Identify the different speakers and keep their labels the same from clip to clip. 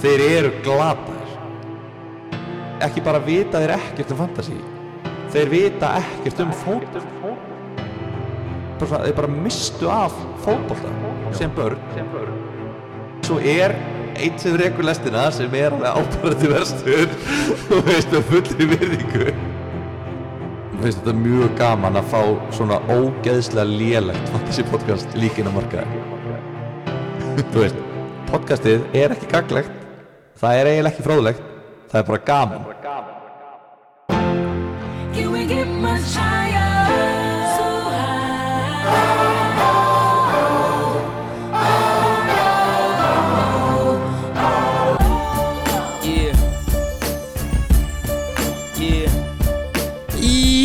Speaker 1: þeir eru glataðir ekki bara vita þeir ekkert um fantasy þeir vita ekkert um fótbolta Bara svona, þeir bara mistu af fótbolta sem börn svo er einn sem rekur lestina sem er alveg ábærandi verstur og veist með fullri virðingu Mér finnst þetta mjög gaman að fá svona ógeðslega lélegt fantasy podcast líkin á markaði þú veist, podcastið er ekki gaglegt það er eiginlega ekki fróðlegt það er bara gaman
Speaker 2: Can we get much higher? So high.
Speaker 3: Yeah Yeah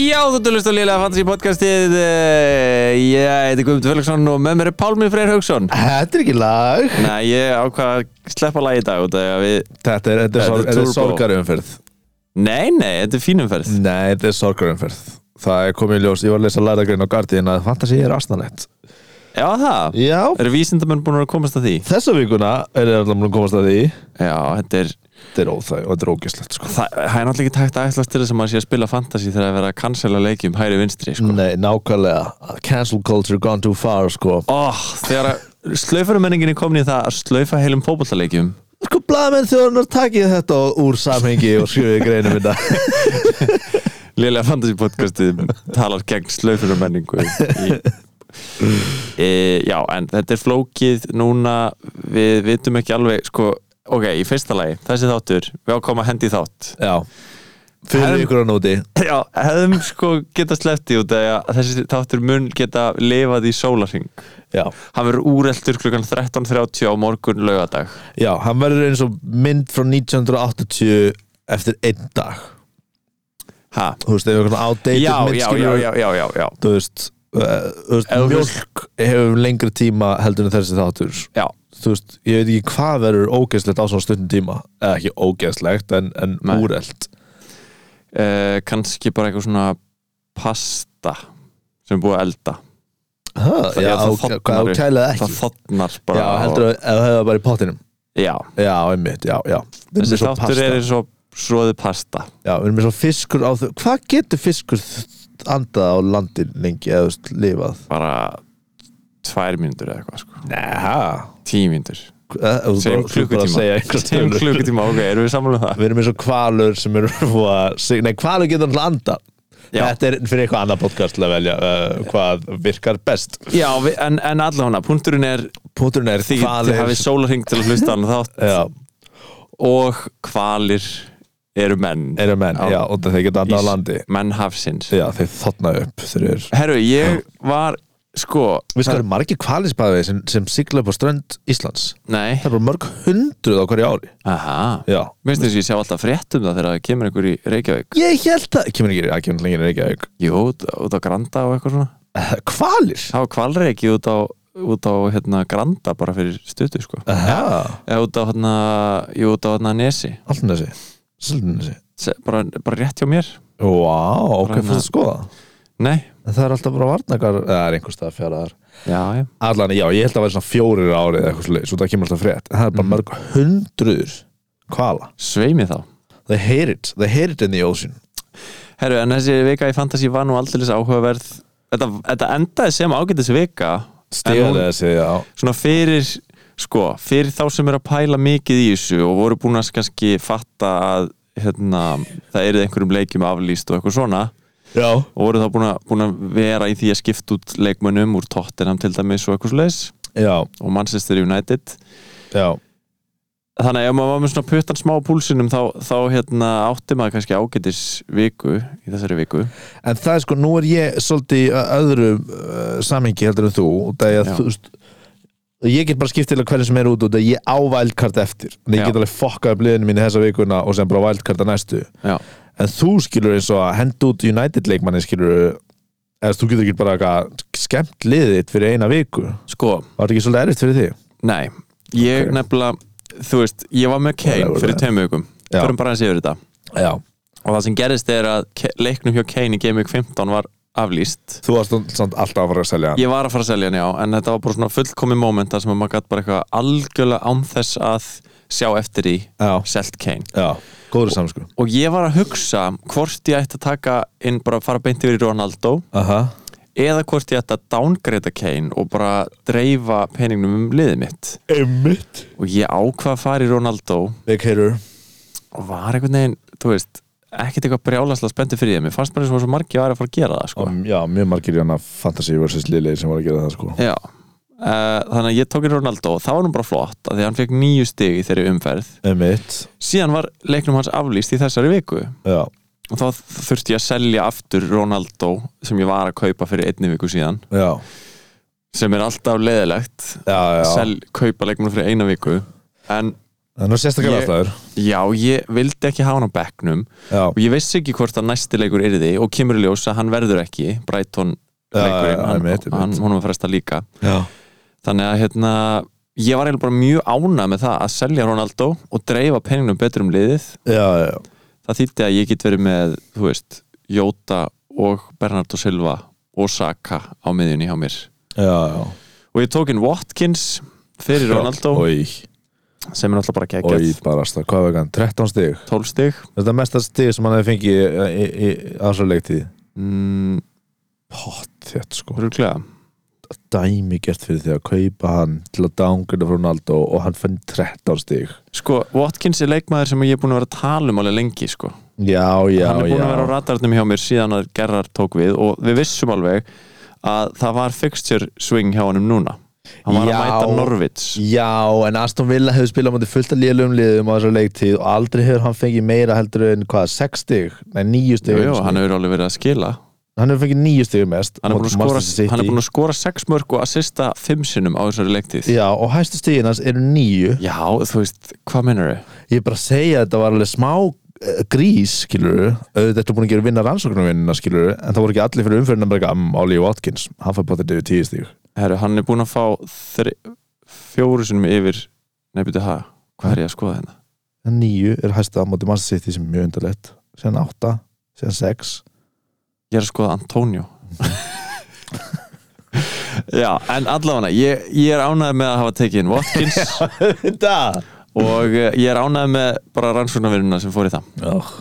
Speaker 3: Já, þú tölust að liðlega fantasy podcastið eh, Ég heiti Guðmundur Felixson og með mér er Pálmi Freyr Haugsson
Speaker 4: Þetta er ekki lag
Speaker 3: Nei, ég ákvað að sleppa lagi í dag út af því að við...
Speaker 4: Þetta er, þetta er,
Speaker 3: Þetta er
Speaker 4: sorg, þetta er
Speaker 3: turbo.
Speaker 4: sorgarumferð
Speaker 3: Nei, nei, þetta er fínumferð
Speaker 4: Nei, þetta er sorgarumferð Það er komið í ljós, ég var að lesa læragrein á Guardian að fantasi er asnalett
Speaker 3: Já, það
Speaker 4: Já
Speaker 3: Eru vísindamenn búin að komast að því?
Speaker 4: Þessa vikuna er ég allan að komast að því
Speaker 3: Já, þetta er
Speaker 4: Þetta er óþæg og þetta er ógislegt sko
Speaker 3: Það, það er náttúrulega ekki tækt að ætlast til þess að maður sé að spila fantasy þegar að vera að cancela leikjum hæri vinstri,
Speaker 1: Mm.
Speaker 3: sko
Speaker 4: Nei, nákvæmlega Cancel culture gone too far sko
Speaker 3: Oh, þegar að slaufarumenningin er komin í það að slaufa heilum fótballaleikjum
Speaker 4: Sko blaðmenn þjóðunar takið þetta úr samhengi og skrifið greinum þetta
Speaker 3: Lilega Fantasy podcastið talar gegn slöfur og menningu í, e, Já, en þetta er flókið núna við vitum ekki alveg sko, ok, í fyrsta lagi, þessi þáttur við ákváum að hendi í þátt
Speaker 4: Já Fyrir
Speaker 3: En-
Speaker 4: ykkur að nóti
Speaker 3: Já, hefðum sko geta sleppti út af því að þessi þáttur mun geta lifað í sólaring
Speaker 4: Já
Speaker 3: Hann verður úreltur klukkan 13.30 á morgun laugadag
Speaker 4: Já, hann verður eins og mynd frá 1980 eftir einn dag
Speaker 3: Ha?
Speaker 4: Þú veist, ef einhvern outdated
Speaker 3: Já,
Speaker 4: mynd
Speaker 3: já, já,
Speaker 4: skilur
Speaker 3: já, já, já, já
Speaker 4: þú veist, uh, þú veist
Speaker 3: Ef þú
Speaker 4: mjölk hefur lengri tíma heldur en þessi þáttur
Speaker 3: Já,
Speaker 4: þú veist, ég veit ekki hvað verður ógeðslegt á svona stundin tíma eða ekki ógeðslegt en, en
Speaker 3: Nei.
Speaker 4: úrelt
Speaker 3: uh, kannski bara eitthvað svona pasta sem er búið að elda Það-
Speaker 4: já,
Speaker 3: já, það
Speaker 4: á-
Speaker 3: þornar
Speaker 4: hvað
Speaker 3: upp.
Speaker 4: þú kælið ekki
Speaker 3: það þotnar bara
Speaker 4: já, heldur að það hefur bara í pottinum
Speaker 3: já,
Speaker 4: já, einmitt, já, já Við erum
Speaker 3: þessi
Speaker 4: með svo
Speaker 3: þáttur
Speaker 4: pasta.
Speaker 3: er eins og svoði pasta
Speaker 4: já, við erum með svo fiskur á þau hvað getur fiskur þ- andað á landin lengi eða þú veist, lifað
Speaker 3: bara tvær mínútur eða eitthvað sko
Speaker 4: neha
Speaker 3: tíu mínútur, segjum klukkutíma segjum
Speaker 4: við
Speaker 3: klukkutíma, ok, erum við sammála um það
Speaker 4: erum eins og kvalur sem eru að sig- nei, kvalur getur alltaf andað
Speaker 3: já,
Speaker 4: Þetta er fyrir eitthvað annað podcast til að velja uh, hvað virkar best
Speaker 3: já við, en, en allavega, punkturinn er
Speaker 4: Punturinn er
Speaker 3: því þið
Speaker 4: hvalir
Speaker 3: hafið sólarhing til að hlusta hann þátt
Speaker 4: já,
Speaker 3: og hvalir eru menn
Speaker 4: eru menn,
Speaker 3: Já.
Speaker 4: já, og þeir geta andað á
Speaker 3: Ís-
Speaker 4: landi
Speaker 3: menn hafsins
Speaker 4: Já, þeir þotna upp þeir eru
Speaker 3: herru, ég var sko,
Speaker 4: Við skoðum margir kvalisbæði sem, sem sigla upp á strönd Íslands
Speaker 3: nei
Speaker 4: Það er bara mörg hundruð á hverju ári
Speaker 3: aha,
Speaker 4: Já
Speaker 3: Mér finnst þess að ég sjá alltaf frétt um það þegar það kemur einhver í Reykjavík
Speaker 4: Ég held að, kemur ekki, að kemur lengir ekki að
Speaker 3: Jú, út, út á Granda og eitthvað svona
Speaker 4: Eh, Kvalir
Speaker 3: Það var kvalreiki út á, út á hérna, Granda bara fyrir stuttu sko
Speaker 4: Já,
Speaker 3: Eða út á hérna, jú, út á hérna Nesi
Speaker 4: alltaf þessi Svolítið þessi
Speaker 3: Se, bara, bara rétt hjá mér
Speaker 4: Vá, ok,
Speaker 3: Bara
Speaker 4: fyrir
Speaker 3: hérna-
Speaker 4: að skoða
Speaker 3: Nei,
Speaker 4: En Það er alltaf bara varnakar, eða er einhvers stað fjaraðar
Speaker 3: já, já
Speaker 4: allan, já, ég held að það væri svona fjórir árið eða eitthvað svolítið, svo það kemur alltaf frétt en það er bara mörg hundruður kvala,
Speaker 3: Sveimi þá
Speaker 4: they hate it they hate it in the ocean
Speaker 3: Herru, en þessi vika í Fantasí var nú aldrei áhugaverð Þetta, þetta endaði sem ágætis vika En hún-
Speaker 4: stíðar þessi, já,
Speaker 3: svona fyrir sko, fyrir þá sem eru að pæla mikið í þessu og voru búin að kannski fatta að hérna, það eru einhverjum leikjum aflýst og eitthvað svona
Speaker 4: já,
Speaker 3: og voru þá búin að, búin að vera í því að skipta út leikmönnum úr Tottenham til dæmis og eitthvað slags
Speaker 4: já,
Speaker 3: og Manchester United
Speaker 4: já.
Speaker 3: þannig að ef maður var með svona puttan smá á púlsinum þá, þá hérna, átti maður kannski ágætis viku í þessari viku
Speaker 4: en það er sko, nú er ég svolítið í öðru uh, samhengi heldur en þú og það er
Speaker 3: Já.
Speaker 4: að þú veist ég get bara skipt til að hverju sem er út út að ég á vældkart eftir, en ég
Speaker 3: Já.
Speaker 4: get alveg fokkað upp liðinu mínu þessa vikuna og sem bara vældkarta næstu
Speaker 3: Já.
Speaker 4: en þú skilur eins og að henda út United leikmanni skilur eða þú getur ekki bara eitthvað skemmt liðið þitt fyrir eina viku
Speaker 3: sko,
Speaker 4: Var þetta ekki svolítið erfitt fyrir því?
Speaker 3: nei, ég
Speaker 4: Ok.
Speaker 3: nefnilega þú veist, ég var með Kane
Speaker 4: Whatever,
Speaker 3: fyrir
Speaker 4: man.
Speaker 3: tveim vikum
Speaker 4: Já.
Speaker 3: fyrir bara eins yfir þetta
Speaker 4: Já
Speaker 3: og það sem gerist er að Ke- leiknum hjá Kane í Game Week 15 var aflýst
Speaker 4: Þú varst samt alltaf að fara að selja hann
Speaker 3: ég var að fara að selja hann já en þetta var bara svona fullkomi moment þar sem að maður gætt bara eitthvað algjörlega án þess að sjá eftir í
Speaker 4: Já.
Speaker 3: selt Kane
Speaker 4: já, góður samsku
Speaker 3: og ég var að hugsa hvort ég ætti að taka inn bara að fara beint yfir í Ronaldo
Speaker 4: aha,
Speaker 3: eða hvort ég ætti að downgreita Kane og bara dreifa peningnum um liðið mitt
Speaker 4: einmitt
Speaker 3: og ég ákvað að fara í Ronaldo
Speaker 4: big hitter
Speaker 3: og var einhvern veginn, þú veist ekkert eitthvað brjálaslega spenntið fyrir þeim mér fannst bara eins og svo margir væri að fara að gera það sko.
Speaker 4: og, já, mjög margir í hana fantasy versus liðleir sem var að gera það sko
Speaker 3: já Uh, þannig að ég tók í Ronaldo og það var nú bara flott að því að hann fekk nýju stig í þeirri umferð
Speaker 4: einmitt,
Speaker 3: síðan var leiknum hans aflýst í þessari viku
Speaker 4: já,
Speaker 3: og þá þurfti ég að selja aftur Ronaldo sem ég var að kaupa fyrir einni viku síðan
Speaker 4: já,
Speaker 3: sem er alltaf leðilegt
Speaker 4: já, já
Speaker 3: sel, kaupa leikmenn fyrir eina viku en
Speaker 4: það er nú sérstaklega
Speaker 3: Ég-
Speaker 4: aðstæður
Speaker 3: já, ég vildi ekki hafa hann á bekknum og
Speaker 4: já,
Speaker 3: ég vissi ekki hvort að næsti leikur yrði og kemur í ljós að hann verður ekki Brighton
Speaker 4: Já,
Speaker 3: leikurinn,
Speaker 4: já,
Speaker 3: hann,
Speaker 4: einmitt, einmitt.
Speaker 3: hann, honum að fresta líka
Speaker 4: já,
Speaker 3: þannig að hérna ég var eiginlega bara mjög ánað með það að selja Ronaldo og dreifa peningum betur um liðið
Speaker 4: já, já.
Speaker 3: það þýtti að ég get verið með þú veist, Jóta og Bernardo Silva og Saka á miðjunni hjá mér
Speaker 4: já, já.
Speaker 3: og ég tók inn Watkins fyrir Ronaldo
Speaker 4: Oj,
Speaker 3: sem er alltaf bara
Speaker 4: oj,
Speaker 3: geggjað
Speaker 4: barasta, hvað vegan, 13 stig
Speaker 3: 12 stig
Speaker 4: Þetta er mesta stig sem hann hefði fengið í, í, í aðsvarlegtíð
Speaker 3: mm,
Speaker 4: Þetta sko
Speaker 3: Rúklega
Speaker 4: dæmi gert fyrir því að kaupa hann til að dángrina frá Ronaldo og hann fann 13 stig
Speaker 3: Sko, Watkins er leikmaður sem ég er búin að vera að tala um alveg lengi sko.
Speaker 4: Já, já,
Speaker 3: Hann er búin
Speaker 4: já
Speaker 3: að vera á radarnum hjá mér síðan að Gerrard tók við og við vissum alveg að það var fixture swing hjá honum núna Hann var
Speaker 4: Já.
Speaker 3: að mæta Norvits
Speaker 4: Já, en Aston Villa hefur spilað á móti fullt að lélum liðum á þessar leiktíð og aldrei hefur hann fengið meira heldur en hvað, 6 stig? Nei, 9 stig
Speaker 3: Jú, jú, hann hefur alveg verið að skila
Speaker 4: hann hefur fengið 9 stig mest
Speaker 3: Hann er búin að
Speaker 4: móti
Speaker 3: skora,
Speaker 4: Manchester City.
Speaker 3: hann er búin að skora 6 mörg og assista 5 sinnum á þessari leiktið
Speaker 4: Já, og hæstu stigin hans eru 9
Speaker 3: Já, þú veist, hvað mennur þau?
Speaker 4: Ég er bara að segja að þetta var alveg smá eh, grís, skilur auðvitað ertu búin að gera vinna rannsóknarvinnina, skilur en það voru ekki allir fyrir umfyrirna bara eitthvað um Ollie Watkins, hann fær bara þetta 10 stig
Speaker 3: Herru, hann er búin að fá þri, fjóru sinnum yfir Nei, byrju, hæ, hvað er ég að skoða hérna?
Speaker 4: en nýju er hæsta á móti Manchester City sem er mjög undarlegt síðan átta, síðan sex
Speaker 3: Ég er að skoða Antonio Já, en allavega ég, ég er ánægð með að hafa tekið inn Watkins
Speaker 4: þetta
Speaker 3: og eh, ég er ánægð með bara rannsóknarvinnuna sem fór í það
Speaker 4: oh.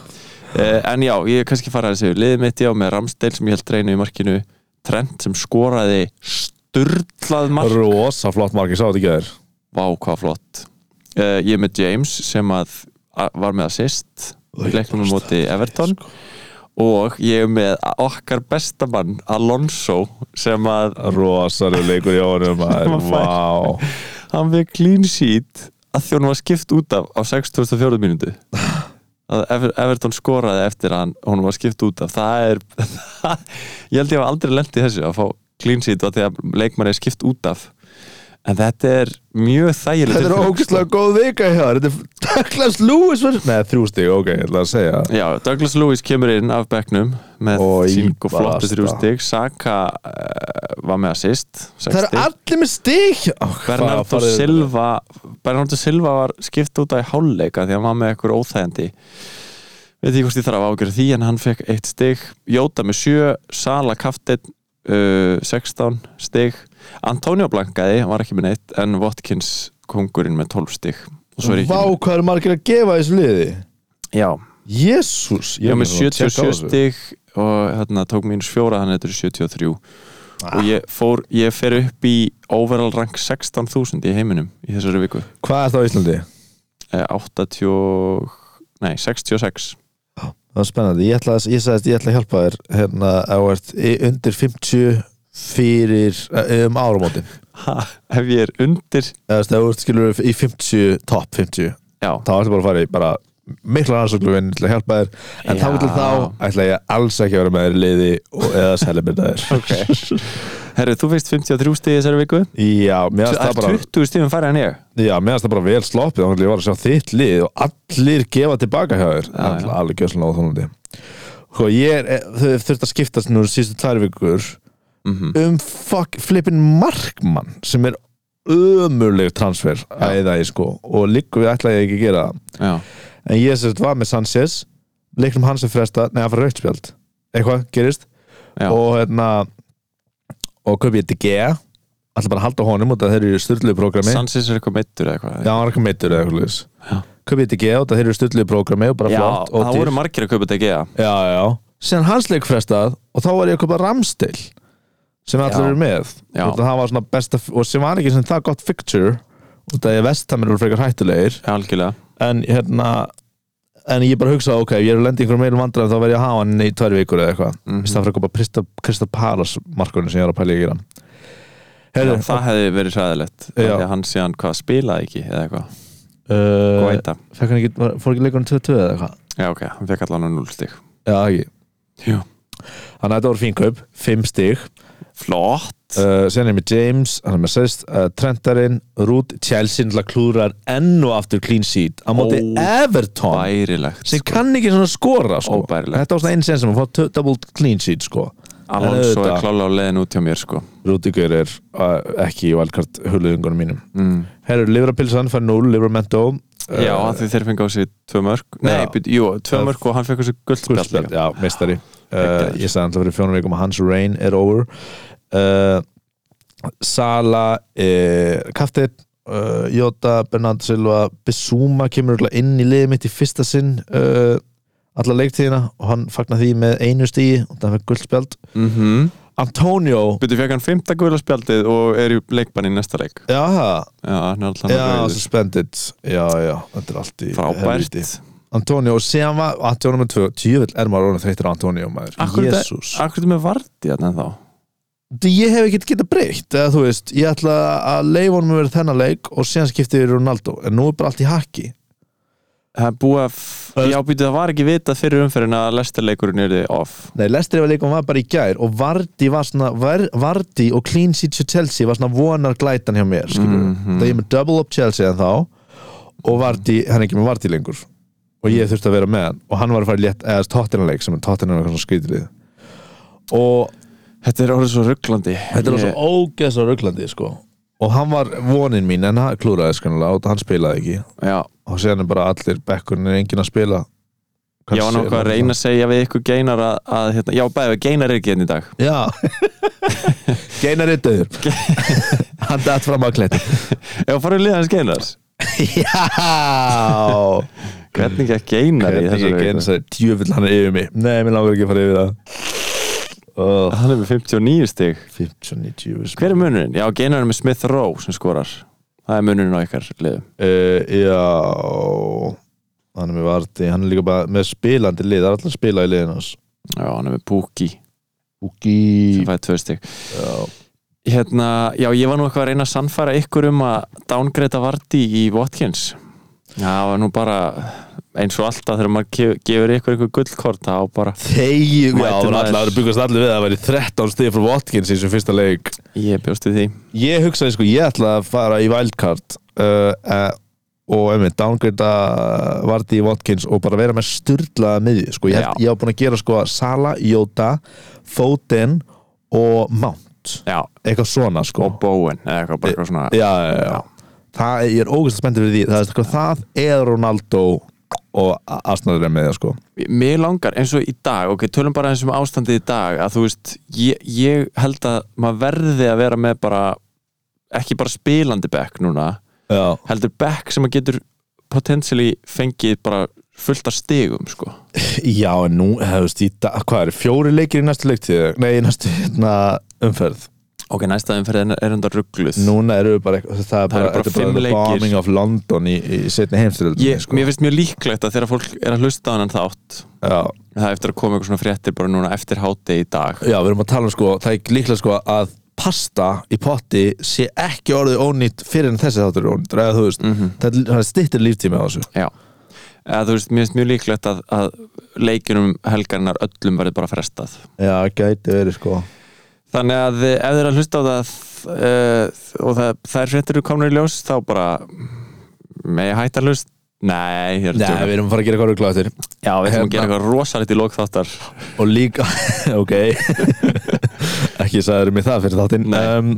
Speaker 3: eh, En já, ég er kannski farað að segja liðið mitt já með Ramsdale sem ég held reynu í markinu Trent sem skoraði sturlað mark
Speaker 4: rosa flott mark, ég sá þetta ekki þér
Speaker 3: Vá, hvað flott eh, Ég er með James sem að, að var með assist
Speaker 4: Oj,
Speaker 3: leiknum á
Speaker 4: bara
Speaker 3: móti Everton
Speaker 4: Sko,
Speaker 3: og ég er með okkar bestamann Alonso sem að
Speaker 4: rosalega leikur í honum maður.
Speaker 3: Maður fær.
Speaker 4: Vá.
Speaker 3: hann við clean sheet að því hann var skipt út af á 64. mínútu að Ever- Everton skoraði eftir að hann hún var skipt út af það er ég held ég hafa aldrei lent í þessu að fá clean sheet og því að leikmann er skipt út af en þetta er mjög þægileg
Speaker 4: þetta er
Speaker 3: tilfinning,
Speaker 4: ógustlega góð vika hjá þér þetta er Douglas Lewis var... neða þrjú stig, ok, ég ætla að segja
Speaker 3: sko. Já, Douglas Lewis kemur inn af bekknum með
Speaker 4: Oj,
Speaker 3: síng og flottu
Speaker 4: basta.
Speaker 3: þrjú stig Saka uh, var með assist sex
Speaker 4: það er
Speaker 3: stig.
Speaker 4: allir með stig oh,
Speaker 3: Bernardo Silva Bernardo Silva var skipt út á í hálfleika því að hann var með eitthvað óþægandi veit ekki hvort ég þarf að ágjöra því en hann fekk eitt stig, Jóta með sjö Sala Kaftin uh, 16 stig Antonio Blankaði, hann var ekki með neitt en Watkins kongurinn með 12 stig og svo er ég
Speaker 4: Vá,
Speaker 3: ekki,
Speaker 4: hvað eru margir að gefa þessu liði
Speaker 3: já,
Speaker 4: Jésús
Speaker 3: ég var með 77 stig og þarna tók mínus fjóra þannig að þetta er 73
Speaker 4: Ah.
Speaker 3: og ég fór, ég fer upp í overall rank 16.000 í heiminum í þessari viku
Speaker 4: Hvað er það á Íslandi?
Speaker 3: Eh, 80 nei, 66
Speaker 4: Það er spennandi, ég ætla, að- ég sagðist, ég ætla að hjálpa þér hérna, ef þú ert í- undir 50 fyrir, eh, um áramótin
Speaker 3: ha, ef ég er undir
Speaker 4: eða þú veist, ef þú ert skilur í 50 topp 50,
Speaker 3: já,
Speaker 4: þá ertu bara að fara í bara mikla rannsóknum til að hjálpa þér en þá til
Speaker 3: Já.
Speaker 4: þá ætla ég alls ekki að vera með þér í liði og, eða selibirna þér
Speaker 3: herru, þú veist 53 stíði þessari viku eh,
Speaker 4: Já, mér finnst
Speaker 3: það
Speaker 4: það
Speaker 3: er
Speaker 4: bara
Speaker 3: 20 stíðum færið en ég
Speaker 4: Já, mér finnst það bara vel sloppið þá ætla ég var að sjá þitt lið og allir gefa tilbaka hjá þér
Speaker 3: Já,
Speaker 4: All, alveg gjössalega óþólandi Sko, ég er, eh, þau þurft að skiptast nú síðustu tvær vikur
Speaker 3: Mhm.
Speaker 4: um fuck, flippin markmann sem er ömurleg transfer að eða ég sko og líku við ætla ég ekki að gera það
Speaker 3: já,
Speaker 4: en ég sérst var með Sanchez leiknum hans er fresta, neða fyrir rautspjald eitthvað gerist
Speaker 3: já,
Speaker 4: og hérna og kaupi ég DG alltaf bara að halda á honum og það þeir eru styrluðu prógrami
Speaker 3: Sansins er eitthvað meittur eða eitthvað
Speaker 4: Já, hann er ekki meittur eða eitthvað leis
Speaker 3: Já.
Speaker 4: Kaupið þetta ekki á þetta þeir eru styrluðu prógrami og bara
Speaker 3: Já,
Speaker 4: flott
Speaker 3: það
Speaker 4: og dýrt.
Speaker 3: voru margir að kaupa DGA
Speaker 4: Já, já Síðan hans leik frestað og þá var ég að kaupa Ramstil sem allir
Speaker 3: Já.
Speaker 4: eru með
Speaker 3: Já.
Speaker 4: og það var svona besta og sem var ekki sem það gott fixture og það er vestamir eru frekar hættulegir
Speaker 3: Algjörlega
Speaker 4: en hérna en ég bara hugsaði ok, ef ég er að lenda í einhverjum meilum vandræðum þá verð ég að hafa hann í tvær vikur eða eitthvað
Speaker 3: Mhm.
Speaker 4: mm -hmm. í stað fyrir að kaupa Prista- Krista Palas markunum sem ég er að pæla í að gera
Speaker 3: Já,
Speaker 4: Herðu,
Speaker 3: það hefði verið sæðilegt
Speaker 4: Já.
Speaker 3: Þannig að hann síðan hvað spilaði ekki eða eitthvað
Speaker 4: uh,
Speaker 3: Guaita
Speaker 4: fekk hann ekki, var- fór ekki leikunum 2-2 eða eitthvað
Speaker 3: Já ok, hann fekk allan á 0 stík
Speaker 4: já, ekki,
Speaker 3: Já.
Speaker 4: þannig að þetta voru fín kaup 5 stig
Speaker 3: Flott
Speaker 4: uh, síðan er með James, hann er með sest uh, Trentarinn, Ruth, Chelsea náttúrulega klúrar enn og aftur clean sheet á móti
Speaker 3: Ó,
Speaker 4: Everton
Speaker 3: Bærilegt sko.
Speaker 4: sem kann ekki svona skora sko.
Speaker 3: Óbærilegt.
Speaker 4: þetta var svona eins enn sem að fá t- double clean sheet sko.
Speaker 3: Alonso
Speaker 4: En
Speaker 3: er
Speaker 4: auðvitað-
Speaker 3: klála á leiðin út hjá mér sko
Speaker 4: Rúdigur er uh, ekki í valkart hulöðingunum mínum
Speaker 3: mm.
Speaker 4: herru, Livrapilsan fær 0, Livramento
Speaker 3: Já, af því þeir fengi á sig tvö mörg Nei,
Speaker 4: Já.
Speaker 3: být, jú, tvö
Speaker 4: Það-
Speaker 3: mörg og hann fekk á sig guldspjall
Speaker 4: Guldspjall, já, meistari uh,
Speaker 3: Geggjaður.
Speaker 4: ég sagði alltaf fyrir fjónum vikum að hans reign er over uh, Sala uh, Kaftir uh, Jota, Bernardo Silva Bissúma kemur örugglega inn í liðið mitt í fyrsta sinn uh, alla leiktíðina og hann fagnar því með einu stíi og það fekk guldspjald
Speaker 3: mm -hmm.
Speaker 4: Antonio,
Speaker 3: Býtu fekk hann fymta guldspjaldið og er í leikbann í næsta leik
Speaker 4: já,
Speaker 3: Já, hann er alltaf
Speaker 4: já,
Speaker 3: rauður
Speaker 4: suspended já, já, þetta er allt í
Speaker 3: Frábært
Speaker 4: helvíti. Antonio, og síðan var Antonio með tvö, tjöfull er maður orðin þreyttir á Antonio maður,
Speaker 3: Akkur þetta-
Speaker 4: Jesus
Speaker 3: Akkur er með vart í þarna þá
Speaker 4: Því ég hef ekkert getað breytt eða þú veist, ég ætla að leifa honum að vera þennan leik og síðan skipti við Ronaldo en nú er bara allt í hakki
Speaker 3: Það er búið að f-
Speaker 4: Öst-
Speaker 3: Já, býtu, það var ekki vitað fyrir umferðin að lestarleikurinn er off
Speaker 4: Nei, Lestri var leikum var bara í gær og Vardy var svona, var, Vardy og Clean Sheet hjá Chelsea var svona vonar glætan hjá mér skilur mm
Speaker 3: Mhm.
Speaker 4: það ég er með double up Chelsea en þá og Vardy, hann er ekki með Vardy lengur og ég þurfti að vera með hann og hann var að fara í létt eða tóttinanleik sem tóttinan var svona skrítilið og
Speaker 3: Þetta er orðið svo rugglandi
Speaker 4: Þetta er svo ógeðs á rauglandi sko. og hann var vonin mín en hann klúraði skanlega og hann spilaði ekki
Speaker 3: Já,
Speaker 4: og síðan er bara allir bekkurinn er enginn að spila
Speaker 3: ég var nokkuð að reyna að segja við ykkur geinar að, að hérna, Já, bæði, geinar er ekki hérna í dag
Speaker 4: Já Geinar er döður Hann datt fram að kletta
Speaker 3: Ef farið liðans geinar
Speaker 4: Já
Speaker 3: Hvernig ekki geinar í
Speaker 4: Hvernig
Speaker 3: þessari
Speaker 4: ég
Speaker 3: viku?
Speaker 4: geinar sagði Djöfull hann er yfir mig Nei, mér langar ekki að fara yfir það oh,
Speaker 3: Hann er með 59 stig
Speaker 4: 59 djöfull
Speaker 3: Hver er munurinn? Já, geinar er með Smith Rowe sem skorar Það er munurinn á ykkar liðum
Speaker 4: uh, Já Hann er með varti Hann er líka bara með spilandi lið Það er allir að spila í liðin hans
Speaker 3: Já, hann er með Pukki
Speaker 4: Úki
Speaker 3: sem fæði tvö stig
Speaker 4: Já
Speaker 3: Hérna, já, ég var nú eitthvað að reyna að sannfæra ykkur um að dángreita Vardí í Watkins Já, það var nú bara eins og alltaf þegar maður gef- gefur ykkur ykkur gullkort þá bara,
Speaker 4: Þegi, já,
Speaker 3: Mættu
Speaker 4: það var
Speaker 3: maður.
Speaker 4: allar að byggast allir við að það væri 13 stig frá Watkins í þessum fyrsta leik
Speaker 3: ég bjóst við því
Speaker 4: Ég hugsaði sko, ég ætla að fara í wildcard uh, uh, og einmitt downgrade Vardy Watkins og bara vera með styrlaða miði sko, ég, held-
Speaker 3: Já.
Speaker 4: ég var búin að gera sko Sala, Jota, Foden og Mount
Speaker 3: Já,
Speaker 4: eitthvað svona sko
Speaker 3: og Bowen eða eitthvað bara eitthvað svona
Speaker 4: já, já, já, já. Það, ég er ógæst að spendi fyrir því það er sko það eða Ronaldo og Asnar er með það sko
Speaker 3: Mér langar eins og í dag, ok, tölum bara eins um ástandið í dag að þú veist, ég, ég held að maður verði að vera með bara ekki bara spilandi bekk núna
Speaker 4: Já,
Speaker 3: heldur bekk sem maður getur potentially fengið bara fullt af stigum sko.
Speaker 4: Já, en nú, hefðust, í dag, hvað er, fjóri leikir í næstu leiktíð, nei, í næstu hérna, umferð.
Speaker 3: Ok, næsta umferðin er enda ruggluð
Speaker 4: Núna eru við bara, eitthvað- það er bara,
Speaker 3: eru bara
Speaker 4: þetta er
Speaker 3: fimm
Speaker 4: the
Speaker 3: leikir.
Speaker 4: bombing of London í, sko. í setni heimstyrjöldinni,
Speaker 3: ég, Mér finnst mjög líklegt að þegar fólk er að hlusta á hann þátt
Speaker 4: Já,
Speaker 3: það er eftir að koma eitthvað svona fréttir bara núna eftir háti í dag
Speaker 4: já, við erum að tala um sko, það er líklega sko að pasta í potti sé ekki orðið ónýtt fyrir en þessi þáttur er ónýtt, eða þú veist,
Speaker 3: Mhm.
Speaker 4: það, er- það stittir líftími á þessu.
Speaker 3: Já Eða, þú veist, mér finnst mjög líklegt að, að leikjunum helgarinnar öllum verður bara frestað
Speaker 4: Já, gæti verið sko.
Speaker 3: Þannig að ef þeir eru að hlusta á það uh, og það, það er fréttir eru komnir í ljós þá bara megi hætta að hlust Nei, ég er að
Speaker 4: Nei,
Speaker 3: djóka.
Speaker 4: við erum að fara að gera eitthvað rugglaður.
Speaker 3: Já, við ætlum
Speaker 4: hérna-
Speaker 3: að gera eitthvað rosalegt í lók þáttar
Speaker 4: og líka ok ekki sagður mér það fyrir þáttinn
Speaker 3: Nei.
Speaker 4: um,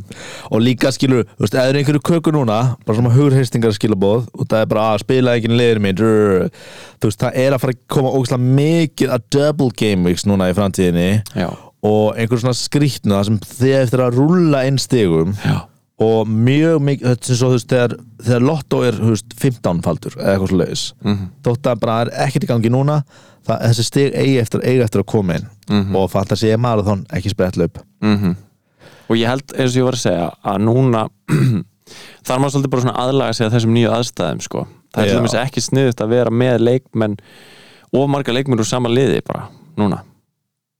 Speaker 4: og líka skilur, þú veist, eða er einhverju köku núna bara svona hugreistingar skilabóð og það er bara að spila ekki liður minn drr. þú veist, það er að fara að koma ógeðslega mikið að double game weeks núna í framtíðinni
Speaker 3: Já,
Speaker 4: og einhver svona skrýtna sem þið eftir að rúlla inn stigum
Speaker 3: já
Speaker 4: og mjög mikið, þetta er svo þú veist þegar, þegar Lotto er þú veist, 15 faldur eða eitthvað svo leiðis
Speaker 3: Mhm,
Speaker 4: þótt að bara er ekkert í gangi núna það, þessi stig eigi eftir, eigi eftir að koma inn og fattar sig ég marathon ekki sprettlaup
Speaker 3: mhm. og ég held eins og ég var að segja að núna þar maður svolítið bara svona aðlaga sig að þessum nýju aðstæðum sko. það er
Speaker 4: Já.
Speaker 3: til dæmis ekki sniðut að vera með leikmenn og marga leikmenn úr sama liði bara núna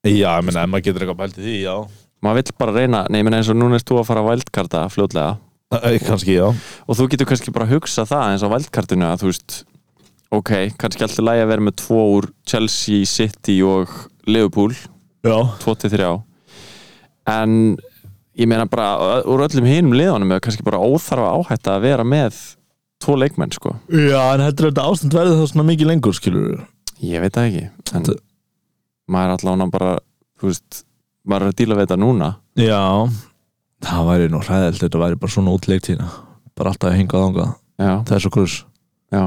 Speaker 4: Já, ég meina, ef maður getur eitthvað pælt í því, já
Speaker 3: maður vill bara reyna, nei, menn eins og núna erst þú að fara að vældkarta fljótlega
Speaker 4: Æ, Eh, Kannski, já
Speaker 3: og þú getur kannski bara að hugsa það eins á vældkartinu að þú veist ok, kannski alltaf lægi að vera með tvo úr Chelsea, City og Liverpool,
Speaker 4: Já,
Speaker 3: 23 en ég meina bara úr öllum hinum liðanum er kannski bara óþarfa áhætta að vera með tvo leikmenn sko,
Speaker 4: já en heldur þetta ástand verður þá svona mikið lengur, skilur
Speaker 3: ég veit það ekki en maður er allavega bara þú veist, maður er að díla við þetta núna
Speaker 4: Já Það væri nú hræðild, þetta væri bara svona útleiktína bara alltaf að hinga þangað,
Speaker 3: já,
Speaker 4: þessu kurs
Speaker 3: já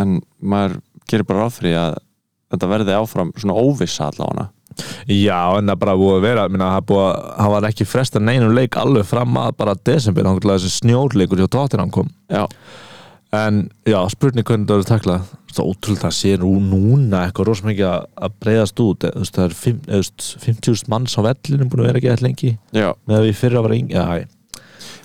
Speaker 3: en maður gerir bara ráð fyrir að þetta verði áfram svona óvissa allavega
Speaker 4: Já, en það er bara búið að vera minna, það, er búið að, það var ekki fresta neinum leik alveg fram að bara desember þá var þessi snjóleikur hjá Tottenham kom
Speaker 3: já,
Speaker 4: en já, spurning hvernig það verður taklað það er ótrúlega það sé nú núna eitthvað rosa mikið að- að breyðast út eða, þú veist, það er fimm- eða, þú veist, 50.000 manns á vellinu búin að vera ekki eitthvað lengi
Speaker 3: já,
Speaker 4: með að við fyrir að vera yngja ja,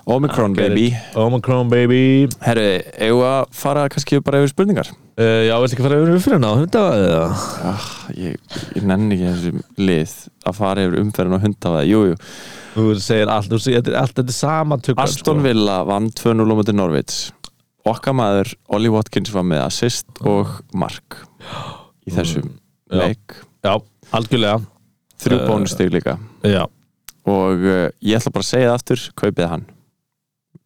Speaker 3: Omicron
Speaker 4: Get it.
Speaker 3: baby
Speaker 4: Omicron baby
Speaker 3: herru, eigum við að fara kannski bara yfir spurningar
Speaker 4: uh, Já, viltu ekki fara yfir fyrir ná? Þetta var það
Speaker 3: ah, ég, ég nenni ekki þessu lið að fara yfir umferðin og hundavaði, jújú
Speaker 4: Þú segir allt, þú segir þetta er allt þetta er sama sko. tökur
Speaker 3: Aston Villa vann 2-0 á mútið Norvits okkar maður Ollie Watkins var með assist og mark í þessum
Speaker 4: Já.
Speaker 3: leik
Speaker 4: Já, algjörlega
Speaker 3: þrjú
Speaker 4: Eh.
Speaker 3: bónustig líka
Speaker 4: Já,
Speaker 3: og uh, ég ætla bara að segja það aftur kaupið hann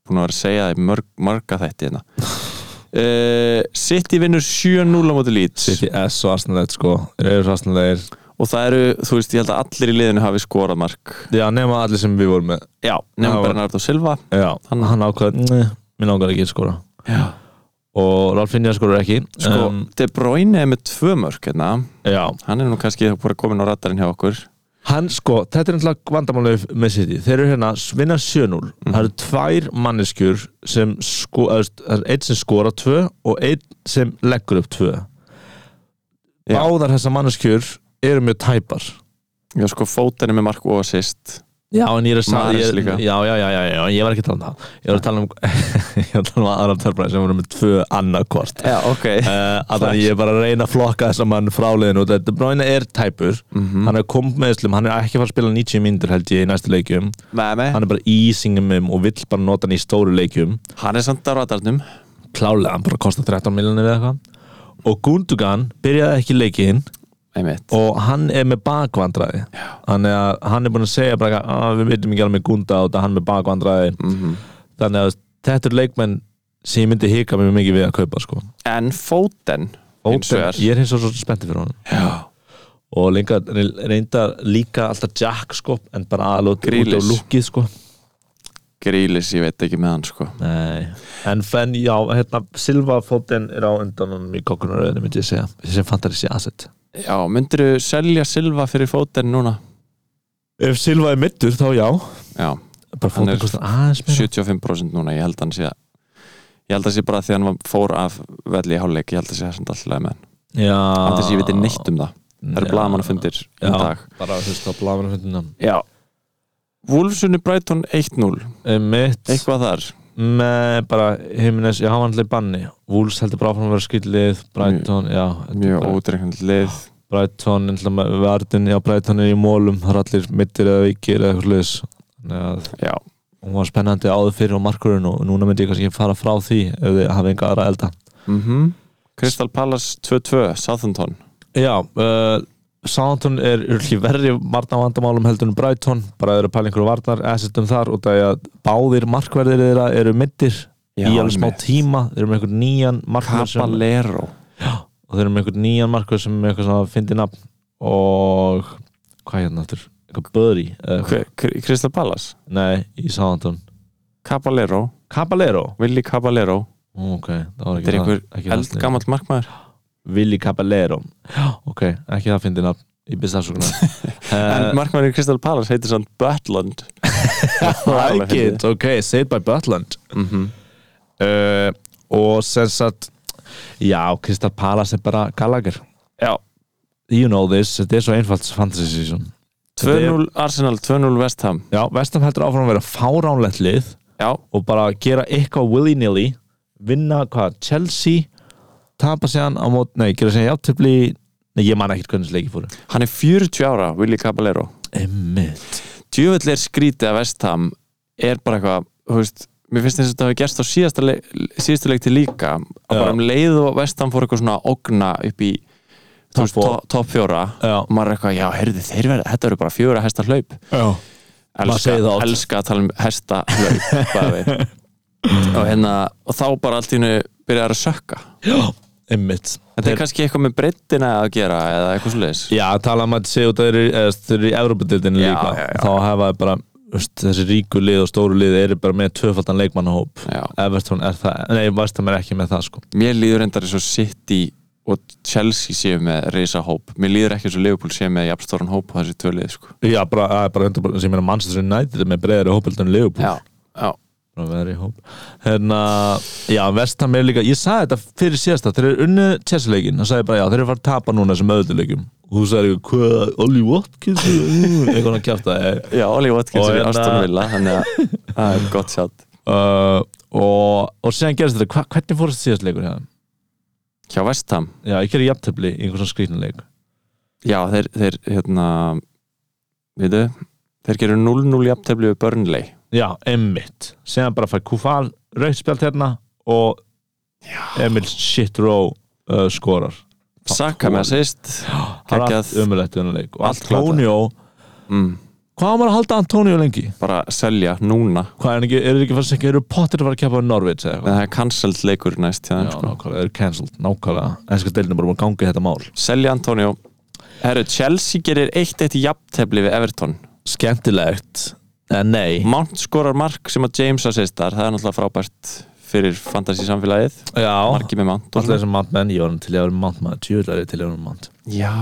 Speaker 3: búin að vera að segja það í mörg, marga þætti hérna uh, City vinnur 7-0 á mútið Leeds
Speaker 4: City S og Arsenal eitt, sko Þeir eru svo Arsenal eitt
Speaker 3: og það eru, þú veist, ég held að allir í liðinu hafi skorað mark
Speaker 4: Já, nema allir sem við vorum með
Speaker 3: já, nefnum
Speaker 4: Já.
Speaker 3: Bernardo Silva
Speaker 4: Já, hann, hann ákvað, "Nei, mér langar ekki að skora
Speaker 3: já.
Speaker 4: Og Ralf Finjar skorur ekki
Speaker 3: sko,
Speaker 4: Em,
Speaker 3: De Bruyne er með tvö mörk hérna.
Speaker 4: Já,
Speaker 3: hann er nú kannski bara komin á radarinn hjá okkur
Speaker 4: hann sko, þetta er náttúrulega vandamálið með City Þeir eru hérna, vinna 7-0 Það eru tvær manneskjur sem sko, eða, þú veist, það er einn sem skora tvö og einn sem leggur upp tvö
Speaker 3: Já.
Speaker 4: Báðar þessar manneskjur eru mjög tæpar
Speaker 3: Já, sko, fótinn er með mark og assist
Speaker 4: Já, en ég er að sa-
Speaker 3: Maris
Speaker 4: ég-
Speaker 3: líka.
Speaker 4: já, já, já, já, já, ég var ekki að tala um það Ég var að tala um, ég var að tala um aðra törfræði sem voru með tvö annarkvort
Speaker 3: Já, ok
Speaker 4: uh, Þannig að ég er bara að reyna að flokka þess að mann fráliðin út De Bruyne er tæpur hann er komið með slum, hann er ekki að fara að spila 90 myndir held ég í næstu leikjum
Speaker 3: Með
Speaker 4: hann
Speaker 3: mig
Speaker 4: er bara í singumum og vill bara nota hann í stóru leikjum
Speaker 3: Hann er samt á radarnum
Speaker 4: klálega, hann bara kostar 13 miljonir eða eitthvað og Gundogan byrjaði ekki leikinn
Speaker 3: Einmitt
Speaker 4: og hann er með bakvandræði þannig að hann er búin að segja bara, að við veitum ekki alveg með Gunda og það hann er með bakvandræði
Speaker 3: Mhm.
Speaker 4: þannig að þetta er leikmenn sem ég myndi hika mjög mikið við að kaupa sko.
Speaker 3: En fótinn eins og
Speaker 4: Ópen,
Speaker 3: er.
Speaker 4: ég er hins og svo spenntið fyrir honum
Speaker 3: Já
Speaker 4: og lengar, reyndar líka alltaf Jack sko, en bara alveg út á
Speaker 3: Grealish.
Speaker 4: lukkið sko.
Speaker 3: Grílis, ég veit ekki með hann, sko
Speaker 4: Nei. en fenn, já, hérna Silvafótinn er á undan honum í kokkunaröðinu myndi ég segja, sem fantar þessi asset
Speaker 3: Já, myndirðu selja Silva fyrir fótinn núna?
Speaker 4: Ef Silva er middur, þá já
Speaker 3: Já,
Speaker 4: bara
Speaker 3: Hann er
Speaker 4: fótinn kostar aðeins meira
Speaker 3: 75% núna, ég held að hann sé að Ég held að sé bara því hann var- fór af velli í hálfleik, ég held að sé samt alltaf með hann
Speaker 4: Já
Speaker 3: Þannig að ég veit neitt um það Það eru blaðmann að fundir í
Speaker 4: Já.
Speaker 3: dag
Speaker 4: bara að hlusta á blamanafundina
Speaker 3: Já Wolfsunni Brighton 1-0
Speaker 4: mitt,
Speaker 3: Eitthvað þar
Speaker 4: með bara Jimenez, já, hann var alltaf í banni Wolves heldur bara áfram að vera skillið Brighton, já, þetta er
Speaker 3: Mjög
Speaker 4: bara-
Speaker 3: ódreiknand lið
Speaker 4: Brighton, ennlega með verðin já, Brighton er í mólum, það er allir mittir eða vikir eða eitthvað sluðis þannig að
Speaker 3: Já,
Speaker 4: hún var spennandi áður fyrir á markurinn og núna myndi ég kannski fara frá því ef þið hafa enga aðra elda
Speaker 3: mhm Crystal Palace 2-2, Southampton
Speaker 4: Já, uh, Southampton er ekki verri varnavandamálum heldur en Brighton bara eru pælingur og varnar, eðsettum þar og það er að báðir markverðir þeirra eru mittir í alveg smá tíma þeir eru með einhvern nýjan markverð sem,
Speaker 3: Caballero
Speaker 4: og þeir eru með einhvern nýjan markverð sem er eitthvað svona fyndi nafn og hvað er hérna aftur? Eitthvað Böri?
Speaker 3: Hver- Kr- Crystal Palace
Speaker 4: Nei, í Southampton
Speaker 3: Caballero,
Speaker 4: Caballero
Speaker 3: Willi Caballero
Speaker 4: Ok, það
Speaker 3: Þetta er
Speaker 4: var ekki það-
Speaker 3: einhver
Speaker 4: ekki það sniðugt.
Speaker 3: eldgamall markmaður
Speaker 4: Willi Caballero Já, ok, ekki það fyndi nafn Ég byrst afsökunar Eh.
Speaker 3: En markmaður í Crystal Palace heitir sann Butland
Speaker 4: like it, ok, Saved by Butland
Speaker 3: Mhm.
Speaker 4: uh, og sem sagt já, Kristall Palace er bara Gallagher
Speaker 3: Já,
Speaker 4: you know this, þetta er svo einfalt fantasy season
Speaker 3: 2-0 Arsenal, 2-0 West Ham
Speaker 4: já, Vestam heldur áfram að vera fáránlegt lið
Speaker 3: Já,
Speaker 4: og bara gera eitthvað willy-nilly vinna hvað, Chelsea tapa séðan á mót, nei, gera séðan játtöfli nei, ég man ekkert hvernig þessi leiki fóru
Speaker 3: hann er 40 ára, Willi Caballero
Speaker 4: emmitt
Speaker 3: Djöfull er skrítið að West Ham er bara eitthvað, þú veist Mér finnst þess að þetta hafi gerst á síðasta leik, síðasta leik til líka að
Speaker 4: Já.
Speaker 3: bara um leið og West Ham fór eitthvað svona að ogna upp í þú veist,
Speaker 4: four.
Speaker 3: to- topp fjóra
Speaker 4: Já.
Speaker 3: og maður er eitthvað, já, heyrðu, þeir verða, þetta eru bara fjóra hesta hlaup
Speaker 4: já, Maður
Speaker 3: elska,
Speaker 4: segir það oft.
Speaker 3: elska að tala um hesta hlaup bara við. og, hérna, og þá bara allt í hennu byrjar að sökka
Speaker 4: emmitt
Speaker 3: þetta er kannski eitthvað með breyttina að gera eða eitthvað svoleiðis
Speaker 4: Já, tala um að séu þeir eru eða þeir eru í Evropadildinu
Speaker 3: Já,
Speaker 4: líka
Speaker 3: já, já.
Speaker 4: þá hafa þeir bara veist, þessi ríku lið og stóru lið eru bara með tvöfaldan leikmannahóp
Speaker 3: Já.
Speaker 4: Everton er það, nei, Vestam er ekki með það sko
Speaker 3: mér líður endar eins og City og Chelsea séu með reysa hóp mér líður ekki eins og Liverpool séu með jafnstóran hóp á þessi tvölið sko.
Speaker 4: Já, bara, það er bara, bara sem ég meina Manchester United er með breyðari hópeldun Leopold
Speaker 3: já,
Speaker 4: að vera í hóp hérna, já, Vestham er líka ég sagði þetta fyrir síðasta, þeir eru unnu Chelsea-leikin, það sagði ég bara, já, þeir eru fara að tapa núna sem öðuleikum, og þú sagði ekki hvað, Ollie Watkins mm, eitthvað að kjæfta eh.
Speaker 3: já Oli Watkins
Speaker 4: Og
Speaker 3: er í
Speaker 4: hérna-
Speaker 3: Aston Villa þannig að það er gott sjátt
Speaker 4: uh, og, og síðan gerist þetta, hva, hvernig fórst síðasta leikur hérna?
Speaker 3: hjá Vestham,
Speaker 4: já, ég gerði jafntöfli í einhverson skrýtnuleik
Speaker 3: já, þeir, þeir hérna veitu, þeir gerur 0-0 jafntefli við Burnley
Speaker 4: já, emmitt, síðan bara fæ Kufal rautspjald hérna og Emil Shitro uh, skorar
Speaker 3: Saka með assist
Speaker 4: hann er allt
Speaker 3: Geggjað.
Speaker 4: umulegt unnuleik og
Speaker 3: Allt glatað.
Speaker 4: Antonio
Speaker 3: mm,
Speaker 4: hvað á maður að halda Antonio lengi?
Speaker 3: bara selja núna
Speaker 4: Hvað er ekki, eru ekki fannst ekki, eru pottir að fara að keppa á Norvits eða
Speaker 3: en
Speaker 4: eitthvað?
Speaker 3: það er cancelled leikur næst hjá
Speaker 4: Já,
Speaker 3: þeim sko.
Speaker 4: nákvæmlega, eru cancelled, nákvæmlega Ennska deilinu bara búin að ganga í þetta mál
Speaker 3: selja Antonio Herru, Chelsea gerir eitt eitt jafntefli við Everton
Speaker 4: Skemmtilegt, en nei
Speaker 3: Mount skorar mark sem að James assistar það er náttúrulega frábært fyrir fantasísamfélagið
Speaker 4: Oh. Já,
Speaker 3: markið með Mount og
Speaker 4: alltaf
Speaker 3: svona.
Speaker 4: þessum mantmenn, ég var nú til ég að vera mantmann Tjóðlega er ég til ég að vera mant
Speaker 3: Já,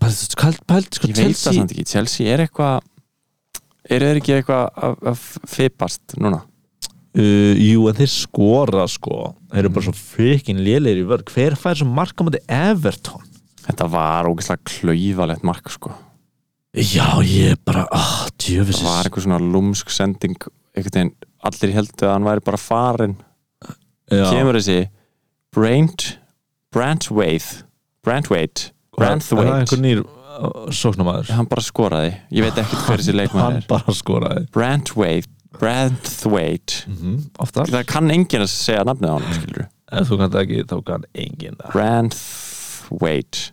Speaker 4: Pælt, pælt, sko,
Speaker 3: ég veit það samt ekki Chelsea er eitthvað eru þeir ekki eitthvað að- að fipast núna
Speaker 4: uh, Jú, en þeir skora, sko Þeir eru bara svo freaking lélegir í vörð Hver fær svo marka múti Everton?
Speaker 3: Þetta var ógeðslega klauvalegt mark sko.
Speaker 4: Já, ég bara, ah,
Speaker 3: það var
Speaker 4: djöfisins
Speaker 3: eitthvað svona lúmsk sending einhvern veginn, allir heldur að hann væri bara farinn kemur þessi Brant Brantwaite Brantwaite
Speaker 4: Það er einhver
Speaker 3: Brantwaite
Speaker 4: nýr sóknumæður
Speaker 3: hann bara skoraði, ég veit ekki hver þessi leikmann
Speaker 4: Hann
Speaker 3: er
Speaker 4: bara skoraði
Speaker 3: Brantwaite Brantwaite
Speaker 4: mm, Oftar
Speaker 3: það kann enginn að segja nafnið á hann skilur
Speaker 4: Ef þú kannt ekki, þá kann enginn það
Speaker 3: Brantwaite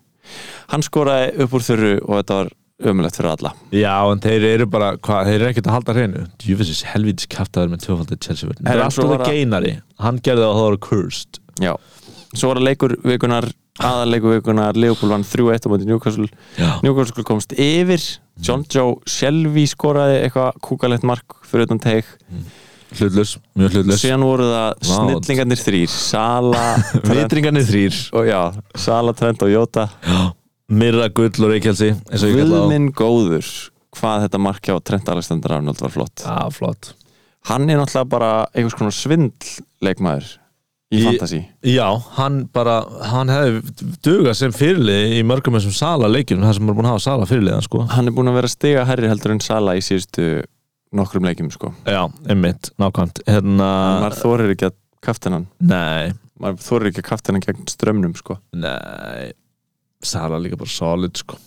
Speaker 3: hann skoraði upp úr þurru og þetta var ömulegt fyrir alla
Speaker 4: Já, en þeir eru bara, hvað, þeir eru ekkert að halda hreinu Djöfisins helvítis kæftaður með tvöfaldið Chelsea vörn Þeir
Speaker 3: Herra,
Speaker 4: eru
Speaker 3: svo
Speaker 4: alltaf
Speaker 3: var
Speaker 4: það
Speaker 3: að-
Speaker 4: geinari Hann gerði það að það var cursed
Speaker 3: já, svo var að leikur vikunar aðarleikur vikunar, Leopold vann 3-1 á móti Newcastle
Speaker 4: Já, Mm.
Speaker 3: Newcastle komst yfir John Joe Shelby skoraði eitthvað kúkalegt mark fyrir utan teik
Speaker 4: hlutlus, mjög hlutlus
Speaker 3: síðan voru það
Speaker 4: Vá.
Speaker 3: snillingarnir þrýr Sala Trent,
Speaker 4: Vitringarnir þrýr
Speaker 3: og já, Sala, Trent og Jota
Speaker 4: Mirra Gull og Reykjelsi eins og ég kalla það
Speaker 3: Vilminn góður hvað þetta markja á Trent Alexander Arnold var flott
Speaker 4: Já, flott
Speaker 3: hann er náttúrulega bara einhvers konar svindl leikmaður í
Speaker 4: Í-
Speaker 3: fantasy
Speaker 4: Já, hann bara, hann hefði dugað sem fyrirlið í mörgum þessum sala leikjum Það sem er búin að hafa sala fyrirliðan, sko
Speaker 3: hann er búin að vera stiga herri heldur en Sala í síðustu nokkrum leikjum sko
Speaker 4: Já, einmitt, nákvæmt Hérna,
Speaker 3: maður þorir ekki að kaftin hann
Speaker 4: nei
Speaker 3: maður þorir ekki að kaftin hann gegn strömmnum sko
Speaker 4: Nei Sala líka bara solid sko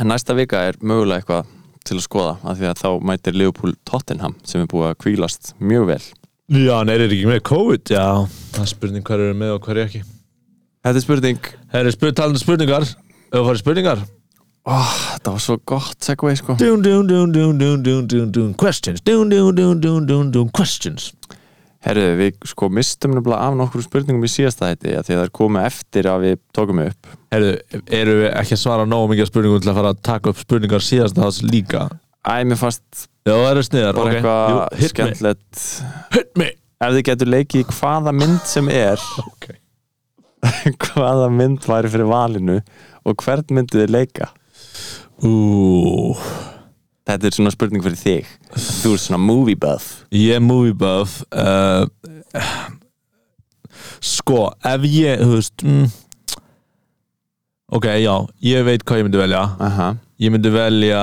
Speaker 3: en næsta vika er mögulega eitthvað til að skoða af því að þá mætir Liverpool Tottenham sem er búið að kvílast mjög vel
Speaker 4: Já, neður er ekki með COVID Já, það er spurning hver eru með og hver er ekki
Speaker 3: Þetta er spurning
Speaker 4: Það eru spurning, talandi um spurningar Ef það farið spurningar
Speaker 3: Þetta var svo gott segway sko
Speaker 4: dún, dún, dún, dún, dún, dún, dún, dún, Questions dún, dún, dún, dún, dún, dún, Questions
Speaker 3: Herðu, við sko mistum nefnilega af nokkrum spurningum í síðasta hætti af því að það er komið eftir að við tókum upp
Speaker 4: Heru, Eru við ekki að svara nógu mikið af spurningum til að fara að taka upp spurningar síðast þess líka
Speaker 3: Æ, mér fannst
Speaker 4: Já, það eru sniðar
Speaker 3: bara
Speaker 4: ok. Jú,
Speaker 3: eitthvað
Speaker 4: hit me,
Speaker 3: skemmtilegt
Speaker 4: Hit me
Speaker 3: Ef þið getur leikið í hvaða mynd sem er
Speaker 4: okay.
Speaker 3: hvaða mynd væri fyrir valinu og hvern myndið þið leika
Speaker 4: Ú,
Speaker 3: þetta er svona spurning fyrir þig þú ert svona movie buff
Speaker 4: Ég er movie buff uh, Sko, ef ég, þú veist mm, Ok, já, ég veit hvað ég myndi velja
Speaker 3: aha,
Speaker 4: Ég myndi velja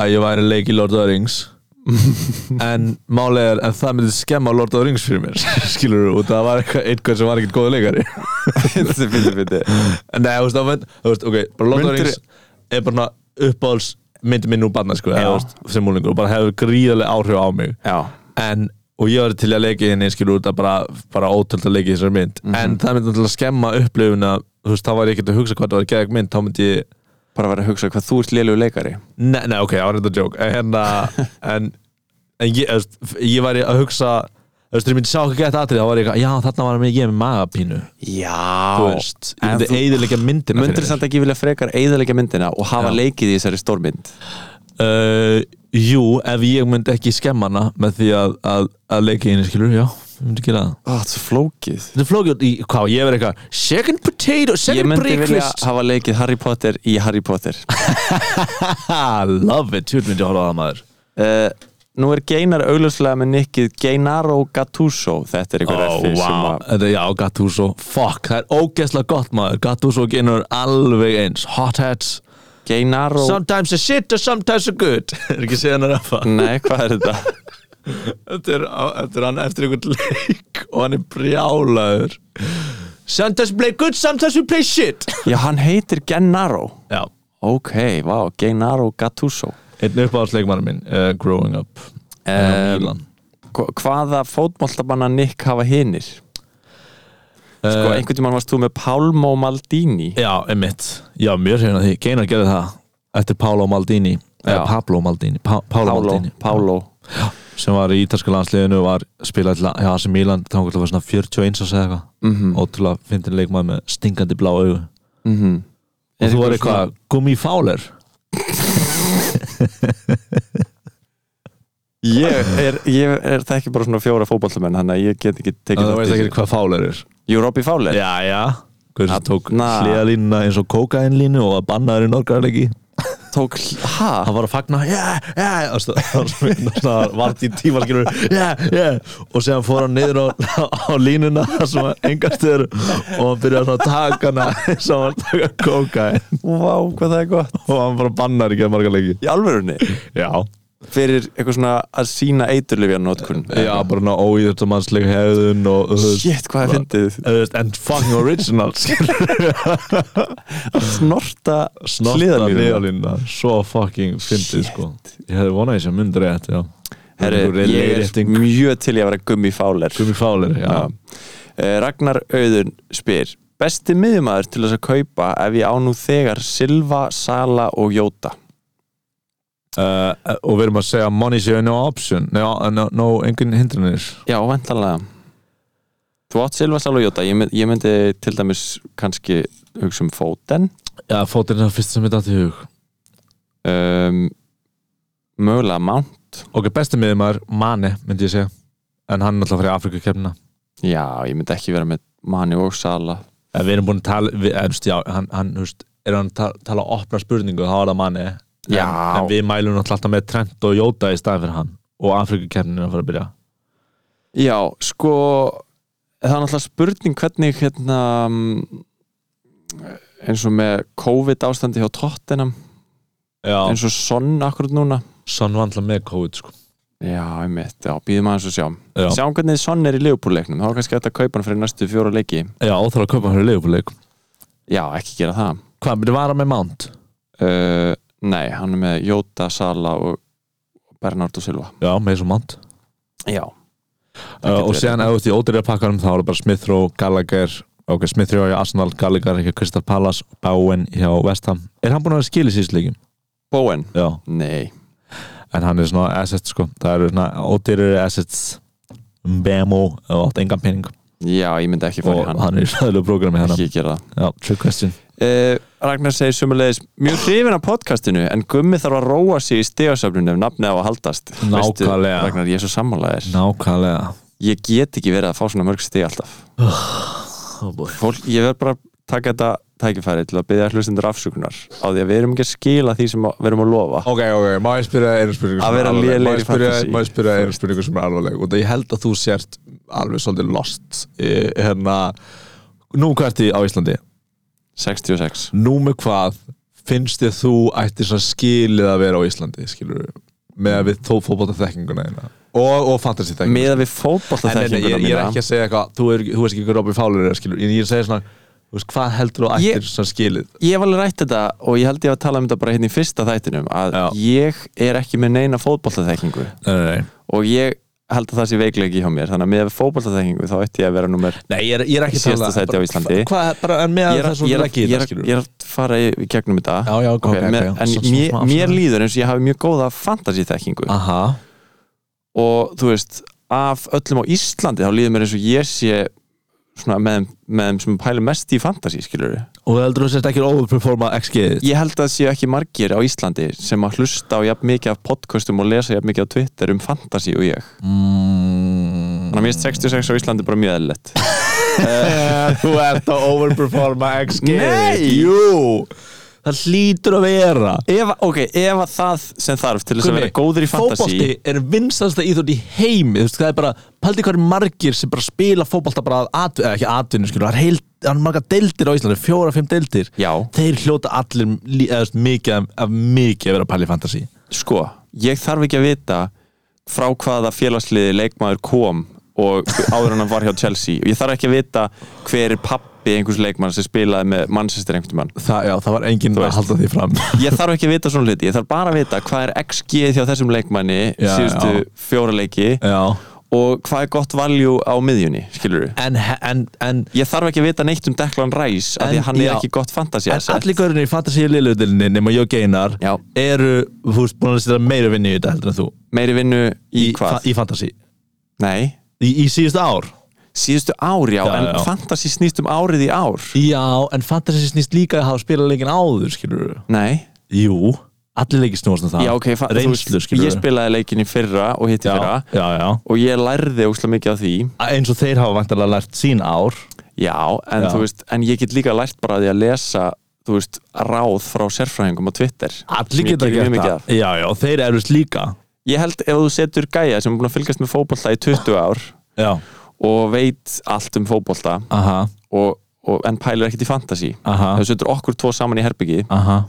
Speaker 4: að ég væri að leik í Lord of the Rings En málega er að það myndi skemma Lord of the Rings fyrir mér Skilur þú, og það var eitthvað, eitthvað sem var ekkert góða leikari
Speaker 3: þetta finnir fyrir
Speaker 4: En nei, þú veist, þá mynd, þú veist, ok, bara Lord of the
Speaker 3: Myndirðu-
Speaker 4: Rings er bara uppáhalds myndi minn úr barna, sko,
Speaker 3: Já.
Speaker 4: eða, þú veist, sem múlingur og bara hefur gríðarlega áhrif á mig
Speaker 3: já,
Speaker 4: en, og ég var til að leika henni skilur út að bara, bara ótöld að leika í þessari mynd
Speaker 3: Mhm.
Speaker 4: en það myndi alltaf skemma upplifuna þú veist, þá var ég ekkert að hugsa hvað það var geðug mynd þá myndi ég,
Speaker 3: bara vera að hugsa hvað þú ert lélegu leikari
Speaker 4: nei, nei ok, það var þetta joke en, hérna, en, en ég, þú veist, ég var að hugsa þú veist, ég myndi sjá ekki gett atrið þá var ég, eitthvað, já, þarna var mig ég með magapínu
Speaker 3: já,
Speaker 4: þú veist, ég
Speaker 3: en
Speaker 4: myndi
Speaker 3: þú-
Speaker 4: eiðilega myndina
Speaker 3: myndir
Speaker 4: fyrir
Speaker 3: samt ekki vilja frekar eigðalega myndina og hafa
Speaker 4: Já.
Speaker 3: leikið í þessari stórmynd
Speaker 4: Uh, jú, ef ég myndi ekki skemma hana með því að, að, að leika í henni skilur, já, ég myndi gera það
Speaker 3: það er svo flókið
Speaker 4: Þetta er flókið í, hvað, ég verið eitthvað Second potato,
Speaker 3: ég
Speaker 4: second
Speaker 3: myndi vilja
Speaker 4: breakfast
Speaker 3: hafa leikið Harry Potter í Harry Potter
Speaker 4: Ha, love it, tjóð myndi að horfa á það maður
Speaker 3: uh, nú er Geinar augljóslega með nikkið Geinaro Gattuso þetta er einhver
Speaker 4: Oh,
Speaker 3: effi sem
Speaker 4: wow,
Speaker 3: að
Speaker 4: þetta, já, Gattuso Fuck, það er ógeðslega gott maður Gattuso og Ginnar er alveg eins Hot hats
Speaker 3: Geinaro,
Speaker 4: Oh. Sometimes a shit or sometimes a good Er ekki síðan að rappa
Speaker 3: nei hvað er þetta
Speaker 4: Mm. þetta, er, á- þetta er hann eftir einhvern leik Og hann er brjálaður Sometimes we play good, sometimes we play shit
Speaker 3: já hann heitir Gennaro
Speaker 4: Já,
Speaker 3: ok, vá, Geinaro Gattuso
Speaker 4: einn uppáðsleikmann minn uh, Growing up Um,
Speaker 3: Ehm, Hva- hvaða fótmáltabanna Nick hafa hinnir sko
Speaker 4: uh,
Speaker 3: einhvern tímann varst þú með Palmo Maldini
Speaker 4: Já, einmitt, já, mjög hrifin að því Geinar gerði það eftir Paolo Maldini eða
Speaker 3: Já.
Speaker 4: Pablo Maldini, pa Paolo
Speaker 3: Paolo,
Speaker 4: Maldini
Speaker 3: Paolo.
Speaker 4: sem var í ítalska landsliðinu var spilað til að AC Milan þá var svona 41 að segja eitthvað
Speaker 3: Mhm,
Speaker 4: ótrúlega fyndin leikmaður með stingandi blá augu
Speaker 3: mhm.
Speaker 4: og þú var eitthvað gummi fáler
Speaker 3: ég er, ég er það ekki bara svona fjóra fótmáltamenn þannig að ég get ekki tekið
Speaker 4: þú veist ekki hvað fáler er
Speaker 3: Jú, Robby Fowler
Speaker 4: Já, já Hversu
Speaker 3: Þarna.
Speaker 4: tók hliðalínuna eins og kókainlínu og var bannaður í norgarleiki
Speaker 3: tók, hæ?
Speaker 4: hann var að fagna yeah, yeah, og stu- og svona svona vart í tíma skilur yeah, yeah, og séðan fór hann niður á, á línuna sem var engastur og hann byrjaði svona að taka hana eins og hann var að taka kókain
Speaker 3: Vá, hvað það er gott
Speaker 4: og hann bara bannar ekki að marga leiki
Speaker 3: Í alvörunni
Speaker 4: já,
Speaker 3: Fyrir eitthvað svona að sína eiturlifja notkun
Speaker 4: já bara ná óýðurtamannsleik hefðun og þú veist,
Speaker 3: Shit, hvað er fyndið
Speaker 4: þú veist, and fucking original skilur
Speaker 3: Snorta
Speaker 4: snorta hliðalínuna svo fucking fyndið sko ég hefði vonað þess að myndi rétt já.
Speaker 3: Herru, ég er mjög til í að vera gummi Fowler
Speaker 4: Gumi Fáler, um já.
Speaker 3: Já. Eh, Ragnar Auðun spyr Besti miðjumæður til þess að kaupa ef ég á nú þegar Silva, Sala og Jóta
Speaker 4: uh, og við erum að segja money séu no option no, no, no engin hindrunir
Speaker 3: Já, vantanlega Þú átt Silva, Sala og Jóta Ég, mynd, ég myndi til dæmis kannski hugsa um fóten
Speaker 4: já, fótinn er það fyrst sem ég datt í hug
Speaker 3: um, Mögulega Mount
Speaker 4: ok, besti miður maður, Mane myndi ég segja en hann er náttúrulega fyrir Afrikakefnina
Speaker 3: Já, ég myndi ekki vera með Mani og Sala
Speaker 4: en við erum búin að tala við, en, þú veist, já, hann, hann, þú veist, er hann að ta- tala að opna spurningu þá er það Mane en,
Speaker 3: Já.
Speaker 4: en við mælum náttúrulega alltaf með Trent og Jóta í staðin fyrir hann og Afrikakefnina er að fara að byrja
Speaker 3: Já, sko það er náttúrulega spurning hvernig hérna mm, eins og með COVID ástandi hjá Tottenham
Speaker 4: já,
Speaker 3: eins og sonn akkurat núna
Speaker 4: Son var alltaf með COVID sko.
Speaker 3: Já, ég mitt, já, býðum aðeins og sjá
Speaker 4: já,
Speaker 3: Sjáum hvernig sonn er í Leopold-leiknum þá er kannski hægt að kaupa hann fyrir næstu fjóra leiki
Speaker 4: já og þarf að kaupa hann fyrir leifupúleik
Speaker 3: Já, ekki gera það
Speaker 4: hvað, myndi vara með Mount?
Speaker 3: uh, Nei, hann er með Jóta, Sala og Bernardo Silva
Speaker 4: já, með svo Mount
Speaker 3: Já,
Speaker 4: Uh, og
Speaker 3: verið.
Speaker 4: síðan ef þú ert í ódýra pakkanum þá er það bara Smith Rowe, Gallagher ok, Smith Rowe hjá Arsenal, Gallagher hjá Crystal Palace Bowen hjá West Ham er hann búin að vera skil í síðustu leikum?
Speaker 3: Bowen
Speaker 4: já,
Speaker 3: Nei,
Speaker 4: en hann er svona asset sko það eru svona ódýrari assets BMO og átt engan pening
Speaker 3: já, ég myndi ekki fara
Speaker 4: og
Speaker 3: í hann,
Speaker 4: hann er í sæðilegu programmi hann
Speaker 3: Ekki gera það
Speaker 4: já, trick question
Speaker 3: Eh, Ragnar segir sumulegis mjög hrifin af podcastinu en gummi þarf að róa sig í stegasöfnun ef nafnið á að haldast Veistu,
Speaker 4: Nákvæmlega.
Speaker 3: Ragnar, ég er svo sammálaðir
Speaker 4: nákvæmlega
Speaker 3: ég get ekki verið að fá svona mörg steg alltaf
Speaker 4: oh boy.
Speaker 3: Fólk, ég verð bara að taka þetta tækifæri til að byggja hlustendur afsökunar á því að við erum ekki að skila því sem að- við erum að lofa
Speaker 4: Ok, ok, má ég spyrja einu spurningu sem
Speaker 3: Að
Speaker 4: er
Speaker 3: vera
Speaker 4: alvarleg?
Speaker 3: lélegir
Speaker 4: Má ég
Speaker 3: í
Speaker 4: spyrja-
Speaker 3: fantasy.
Speaker 4: Má ég spyrja einu spurningu sem er alvarleg Og það ég held að þú sért alveg svolítið lost í, Hérna Nú hvað ertu á Íslandi
Speaker 3: 66
Speaker 4: Nú með hvað finnst þið þú ættir svona skilið að vera á Íslandi Skilur Með að við þó fótbolta þekkinguna þeina Og, og fantasy þekkinguna
Speaker 3: Miða við fótbolta
Speaker 4: En neina, ég, ég er ekki
Speaker 3: mína
Speaker 4: að segja eitthvað Þú, er, þú veist ekki hvað Robby Fowler er skilur En ég er að segja svona Þú veist, hvað heldur þú
Speaker 3: Ég-
Speaker 4: ættir svona skilið
Speaker 3: Ég var alveg rætt þetta og ég held ég að tala um þetta bara hérna í fyrsta þættinum að
Speaker 4: Já.
Speaker 3: ég er ekki með neina fótboltaþekkingu
Speaker 4: Nei, nei, nei
Speaker 3: og ég held að það sé veikleiki hjá mér þannig að með fótboltaþekkingu þá ætti ég að vera nummer
Speaker 4: Nei, ég er, ég er ekki að
Speaker 3: Síðasta
Speaker 4: tala
Speaker 3: sæti á Íslandi.
Speaker 4: Hvað, bara, en með
Speaker 3: ég
Speaker 4: að
Speaker 3: er,
Speaker 4: það
Speaker 3: að-
Speaker 4: er svona
Speaker 3: ég, er, að-
Speaker 4: legg í
Speaker 3: ég, er,
Speaker 4: þetta
Speaker 3: að-
Speaker 4: skilur
Speaker 3: ég er að fara í í gegnum þetta
Speaker 4: Já, já, ok, ok,
Speaker 3: með,
Speaker 4: ok.
Speaker 3: en
Speaker 4: Svo- svo
Speaker 3: mér,
Speaker 4: smá Ah.
Speaker 3: mér
Speaker 4: afsökunar.
Speaker 3: líður eins og ég hafi mjög góða fantasíþekkingu
Speaker 4: Aha
Speaker 3: og þú veist, af öllum á Íslandi þá líður mér eins og ég sé svona með, þeim- með þeim sem pælu mest í fantasí skilur
Speaker 4: Og heldur þú sérst ekki overperforma XG-ið
Speaker 3: ég held að það séu ekki margir á Íslandi sem að hlusta á jafn mikið af podcastum og lesa jafn mikið á Twitter um fantasí og ég
Speaker 4: Mm.
Speaker 3: þannig að mér finnst 66 á Íslandi bara mjög eðlilegt
Speaker 4: Þú ert að overperforma XG-ið
Speaker 3: Nei!
Speaker 4: Jú Það hlýtur að vera
Speaker 3: ef, ok, ef að það sem þarf til þess að vera góður í fantasí
Speaker 4: Fótbolti er vinsansta íþjótt í heimi Þú veist, það er bara Paldi hvað er margir sem bara spila fótbolta bara að atvinnu Eða ekki atvinnu, skilur Það er heil Það er marga deildir á Íslandi Fjóra, fimm deildir
Speaker 3: já,
Speaker 4: Þeir hljóta allir lí- eða, þú veist, mikið af- af mikið að vera pæli fantasi
Speaker 3: sko, ég þarf ekki að vita frá hvaða félagsliði leikmaður kom og áður en hann var hjá Chelsea og ég þarf ekki að vita hver er pappi einhvers leikmann sem spilaði með Manchester einhvern mann
Speaker 4: Það, já, það var enginn
Speaker 3: Þú
Speaker 4: að
Speaker 3: veist.
Speaker 4: halda því fram
Speaker 3: ég þarf ekki að vita svona hluti, ég þarf bara að vita hvað er XG þjá þessum leikmanni
Speaker 4: Já,
Speaker 3: síðustu
Speaker 4: já.
Speaker 3: fjóra leiki
Speaker 4: Já
Speaker 3: og hvað er gott value á miðjunni, skilur við
Speaker 4: En, en, en
Speaker 3: ég þarf ekki að vita neitt um Declan Rice af því
Speaker 4: En-
Speaker 3: að hann er
Speaker 4: já.
Speaker 3: ekki gott fantasy
Speaker 4: En
Speaker 3: asset.
Speaker 4: allir gaurinn í fantasíu liðlutinni nema ég og Geinar
Speaker 3: Já.
Speaker 4: eru, þú veist, búin að setja meira vinni í þetta heldur en þú
Speaker 3: meiri vinnu í, hvað?
Speaker 4: Í fantasí
Speaker 3: Nei,
Speaker 4: í, í síðustu ár
Speaker 3: síðustu ár já,
Speaker 4: Já,
Speaker 3: en
Speaker 4: já.
Speaker 3: fantasy snýst um árið í ár
Speaker 4: Já, en fantasí snýst líka að hafa spilað leikin áður, skilur
Speaker 3: Nei,
Speaker 4: Jú, allir leikir snúast um það
Speaker 3: já ok fa- þú
Speaker 4: Reynslu,
Speaker 3: veist,
Speaker 4: skilur
Speaker 3: Ég spilaði leikin í fyrra og hitti fyrra
Speaker 4: já, já, já
Speaker 3: og ég lærði óslega mikið af því
Speaker 4: Eins og þeir hafa vantarlega lært sín ár
Speaker 3: Já, en
Speaker 4: Já.
Speaker 3: þú veist, en ég get líka lært bara af því að lesa, þú veist, ráð frá sérfræðingum á Twitter
Speaker 4: Allir
Speaker 3: sem ég
Speaker 4: geta
Speaker 3: geri mjög
Speaker 4: gert
Speaker 3: mikið af.
Speaker 4: það Já, já, þeir eru líka
Speaker 3: Ég held ef þú setur gæja sem er búin að fylgjast með fótbolta í 20 ár
Speaker 4: Já,
Speaker 3: og veit allt um fótbolta
Speaker 4: aha,
Speaker 3: og, og, en pælir ekkit í fantasy
Speaker 4: aha,
Speaker 3: ef þú setur okkur tvo saman í herbyggi
Speaker 4: aha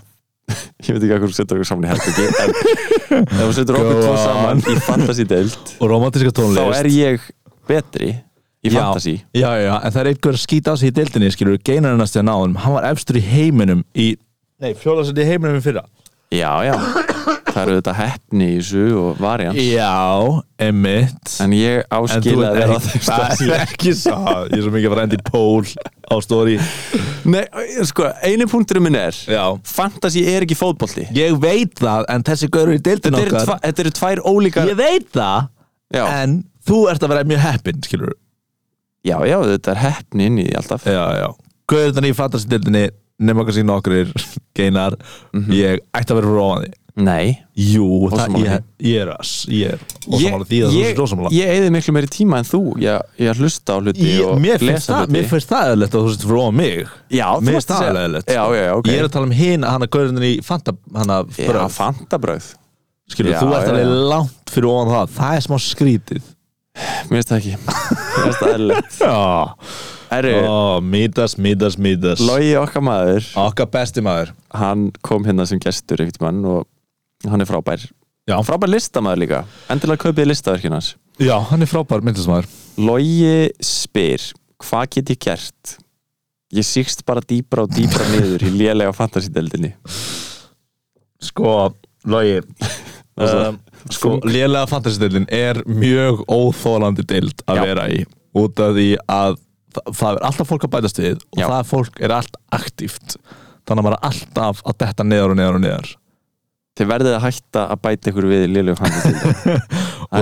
Speaker 3: ég veit ekki að hverju setur okkur saman í herbyggi en ef þú setur okkur
Speaker 4: Go
Speaker 3: tvo
Speaker 4: on.
Speaker 3: saman í fantasy deild
Speaker 4: Og romantíska
Speaker 3: þá
Speaker 4: tónlist
Speaker 3: er ég betri í
Speaker 4: Já.
Speaker 3: fantasy
Speaker 4: Já, já, en það er einhver að skýta á sig í deildinni, skilur, geinar hennast en áðum, hann var efstur í heiminum í... Nei, fjólasett í heiminum í fyrra.
Speaker 3: já, já, það eru þetta heppni í þessu og variant
Speaker 4: Já, emitt.
Speaker 3: en ég
Speaker 4: En þú
Speaker 3: áskil að
Speaker 4: ert
Speaker 3: vera á
Speaker 4: ekki,
Speaker 3: þeim
Speaker 4: það
Speaker 3: stað.
Speaker 4: er ekki sá, ég er svo mikið að fara að enda í pól á stóri.
Speaker 3: Nei, sko, einu punkturinn minn er
Speaker 4: Já.
Speaker 3: fantasy er ekki fótbolti
Speaker 4: Ég veit það, en þessi gaurur í deildinni
Speaker 3: þetta eru, tva,
Speaker 4: okkar,
Speaker 3: þetta eru tvær ólíkar
Speaker 4: ég veit það,
Speaker 3: já,
Speaker 4: en þú ert að vera mjög heppin, skilur.
Speaker 3: já, já, þetta er heppni inn í því alltaf
Speaker 4: Já, já. Gaururinn í fantasy deildinni, nema kannski nokkur geinar, ég ætti að vera frá á því.
Speaker 3: nei,
Speaker 4: Jú, það,
Speaker 3: Ósammála
Speaker 4: ég, ég er ass- ég er ósamála því að það er
Speaker 3: ég,
Speaker 4: rosamála
Speaker 3: ég eði miklu meiri tíma en þú ég, ég hlusta á hluti og
Speaker 4: mér, finnst
Speaker 3: lesa
Speaker 4: það,
Speaker 3: hluti
Speaker 4: mér finnst það eðlilegt að þú sést frá mig
Speaker 3: já, þú varst
Speaker 4: Mér finnst
Speaker 3: að
Speaker 4: það
Speaker 3: segja-
Speaker 4: eðlilegt
Speaker 3: já, já, já, ok
Speaker 4: Ég er að tala um hinn að hann að gaurinn í Fanta hann að
Speaker 3: já,
Speaker 4: bröð
Speaker 3: fantabröð
Speaker 4: Skilur,
Speaker 3: já,
Speaker 4: þú ert
Speaker 3: já,
Speaker 4: alveg
Speaker 3: já.
Speaker 4: langt fyrir ofan það Það er smá skrítið
Speaker 3: mér finnst það ekki mér finnst það eðlilegt
Speaker 4: Já,
Speaker 3: Herru,
Speaker 4: Ó, Midas, Midas, Midas
Speaker 3: Logi okkar maður
Speaker 4: Okkar besti maður
Speaker 3: hann kom hérna sem gestur einhvern mann og hann er frábær
Speaker 4: Já.
Speaker 3: frábær listamaður líka endilega kaupið listaverkin hans
Speaker 4: Já, hann er frábær myndlismaður
Speaker 3: Logi spyr hvað get ég gert ég síkst bara dýbra og dýbra niður í lélega fantasídeldinni
Speaker 4: Sko, logi um, Sko, lélega fantasy-deildin er mjög óþólandi deild að
Speaker 3: Já.
Speaker 4: vera í út af því að það, það er alltaf fólk að bætast við og
Speaker 3: Já.
Speaker 4: það fólk er allt aktíft þannig að maður er alltaf að detta neðar og neðar og neðar
Speaker 3: þið verðið að hætta að bæta ykkur við í lélegu fantasíldildinni það
Speaker 4: Og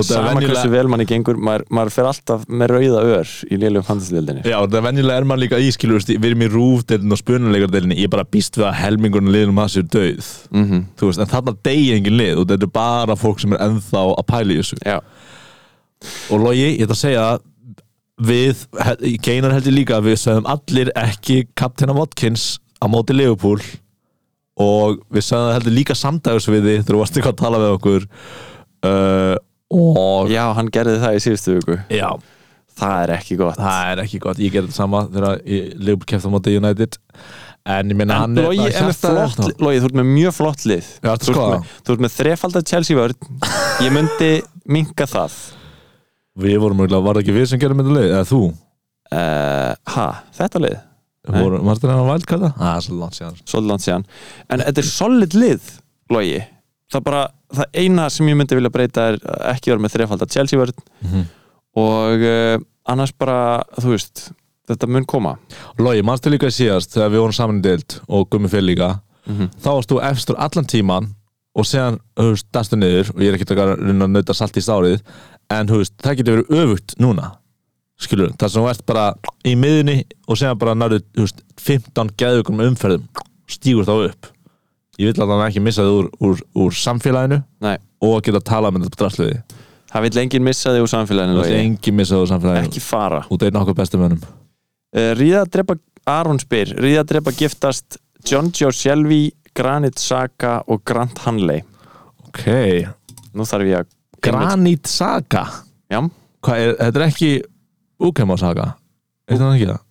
Speaker 3: er
Speaker 4: það er
Speaker 3: sama
Speaker 4: venjulega-
Speaker 3: hversu vel manni gengur maður, maður fer alltaf með rauða ör í lélegu fantasíldildinni
Speaker 4: Já, það er venjulega er maður líka í, skilur, veist, við erum í rúfdeildin og spunuleikardeilinni ég er bara býst við að helmingunum liðnum að sér döið
Speaker 3: mm
Speaker 4: þú veist, en þarna degi engin lið og þetta er bara fólk sem er ennþá að pæla í þessu
Speaker 3: já,
Speaker 4: og logi, ég ætla að segja að við, he- Geinar heldur líka að við sögum allir ekki Captain Watkins á á móti Leopold og við sagðum það heldur líka samdags við þið þegar þú varst eitthvað að tala við okkur uh, og
Speaker 3: Já, hann gerði það í síðustu viku
Speaker 4: já,
Speaker 3: Það er ekki gott
Speaker 4: það er ekki gott, ég gerði þetta sama þegar Leopold kefti á móti United en ég meina
Speaker 3: En
Speaker 4: hann
Speaker 3: Logi er með flott Logi, þú ert með mjög flott lið
Speaker 4: hérna. Já, ertu
Speaker 3: Þú ert
Speaker 4: sko?
Speaker 3: með, þú ert með þrefaldar Chelsea vörð Ég myndi minka það
Speaker 4: við vorum mjög, var það ekki við sem gerðum þetta leið, eða þú
Speaker 3: uh, Ha, þetta lið Nei.
Speaker 4: voru, varst það hann að valdkalla? það er svo langt síðan
Speaker 3: Svolítið langt síðan En þetta er solid lið, Logi Það bara, það eina sem ég myndi vilja breyta er að ekki vera með þrefaldar Chelsea vörð
Speaker 4: Mhm.
Speaker 3: Og uh, annars bara, þú veist Þetta mun koma
Speaker 4: Logi, mannstu líka síðast þegar við vorum saman í deild og gummi fyrir líka
Speaker 3: Mhm.
Speaker 4: þá varst þú efstur allan tíman og séðan, þú veist, dastu niður og ég er ekkert að reyna að nauta salt í stárið en, þú veist, það getur verið öfugt núna skilur, þar sem þú ert bara í miðunni og séðan bara nærðu, þú veist 15 geðugum umferðum stígur þá upp ég vil að hann ekki missa þið úr, úr, úr samfélaginu
Speaker 3: Nei,
Speaker 4: og geta talað með þetta drastliði
Speaker 3: það vil enginn missa þig úr samfélaginu
Speaker 4: þú veist,
Speaker 3: Logi
Speaker 4: engin missa þið úr samfélaginu
Speaker 3: Ekki fara
Speaker 4: út einn okkur bestu mönnum
Speaker 3: Eh, Ríða að drepa Aron spyr Ríða að drepa giftast John Joe Shelby, Granit Saka og Grant Hanley
Speaker 4: ok,
Speaker 3: Nú þarf ég að
Speaker 4: Granit Saga
Speaker 3: Já,
Speaker 4: Hvað er, þetta er ekki Ukema saga Er þetta ekki það?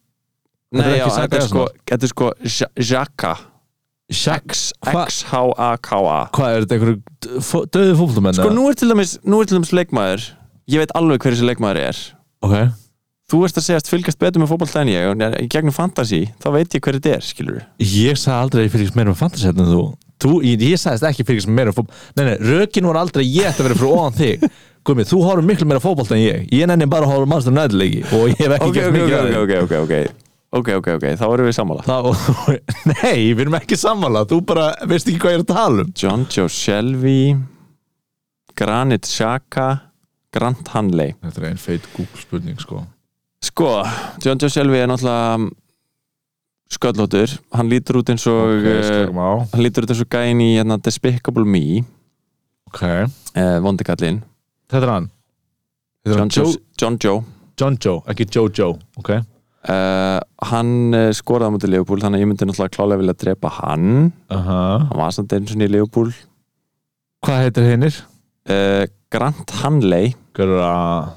Speaker 3: Nei,
Speaker 4: er
Speaker 3: já
Speaker 4: ekki Saka
Speaker 3: þetta er sko, þetta er sko Jaka
Speaker 4: Shax Hva,
Speaker 3: X-H-A-K-A
Speaker 4: Hvað er þetta einhverju döðu fólkdumenn?
Speaker 3: Sko nú er til dæmis, nú er til dæmis leikmaður Ég veit alveg hver þessi leikmaður er
Speaker 4: Ok
Speaker 3: Þú veist að segjast fylgast betur með fótbolta en ég og í gegnum fantasy, þá veit ég hver þetta er skilur
Speaker 4: Ég sagði aldrei að ég fylgist meira um fantasy heldur en þú Þú, ég, ég sagðist ekki fylgist meira um fótbolt Nei, nei, rökin voru aldrei ég ætti að vera frá ofan þig Guðmi, þú horfum miklu meira fótbolt en ég Ég nenni bara að horfa mannstur næðileiki Og ég hef ekki
Speaker 3: Ok,
Speaker 4: gert
Speaker 3: ok,
Speaker 4: mikið
Speaker 3: ok,
Speaker 4: af því.
Speaker 3: ok, ok, ok Ok, ok, ok, þá erum við sammála
Speaker 4: Það, Nei, við erum ekki sammála Þú bara veist ekki hvað ég er að tala um
Speaker 3: John Joe Shelby Granit Xhaka Grant Hanley
Speaker 4: Þetta er einn feit Google spurning sko
Speaker 3: sko, John Joe Shelby er náttúrulega sköllóttur hann lítur út eins og okay,
Speaker 4: á
Speaker 3: hann lítur út eins og gæin í hérna, Despicable Me
Speaker 4: Ok
Speaker 3: eh, vondikallinn
Speaker 4: Þetta er hann Þetta er
Speaker 3: John
Speaker 4: hann Joe
Speaker 3: Joe, John Joe.
Speaker 4: John Joe, ekki Joe Joe ok
Speaker 3: Uh, hann eh, skoraði á mútið Leopold þannig að ég myndi náttúrulega klálega vilja drepa hann
Speaker 4: -huh.
Speaker 3: hann var samt eins og nýja Leopold
Speaker 4: Hvað heitir hinnir?
Speaker 3: uh, Grant Hanley
Speaker 4: Gura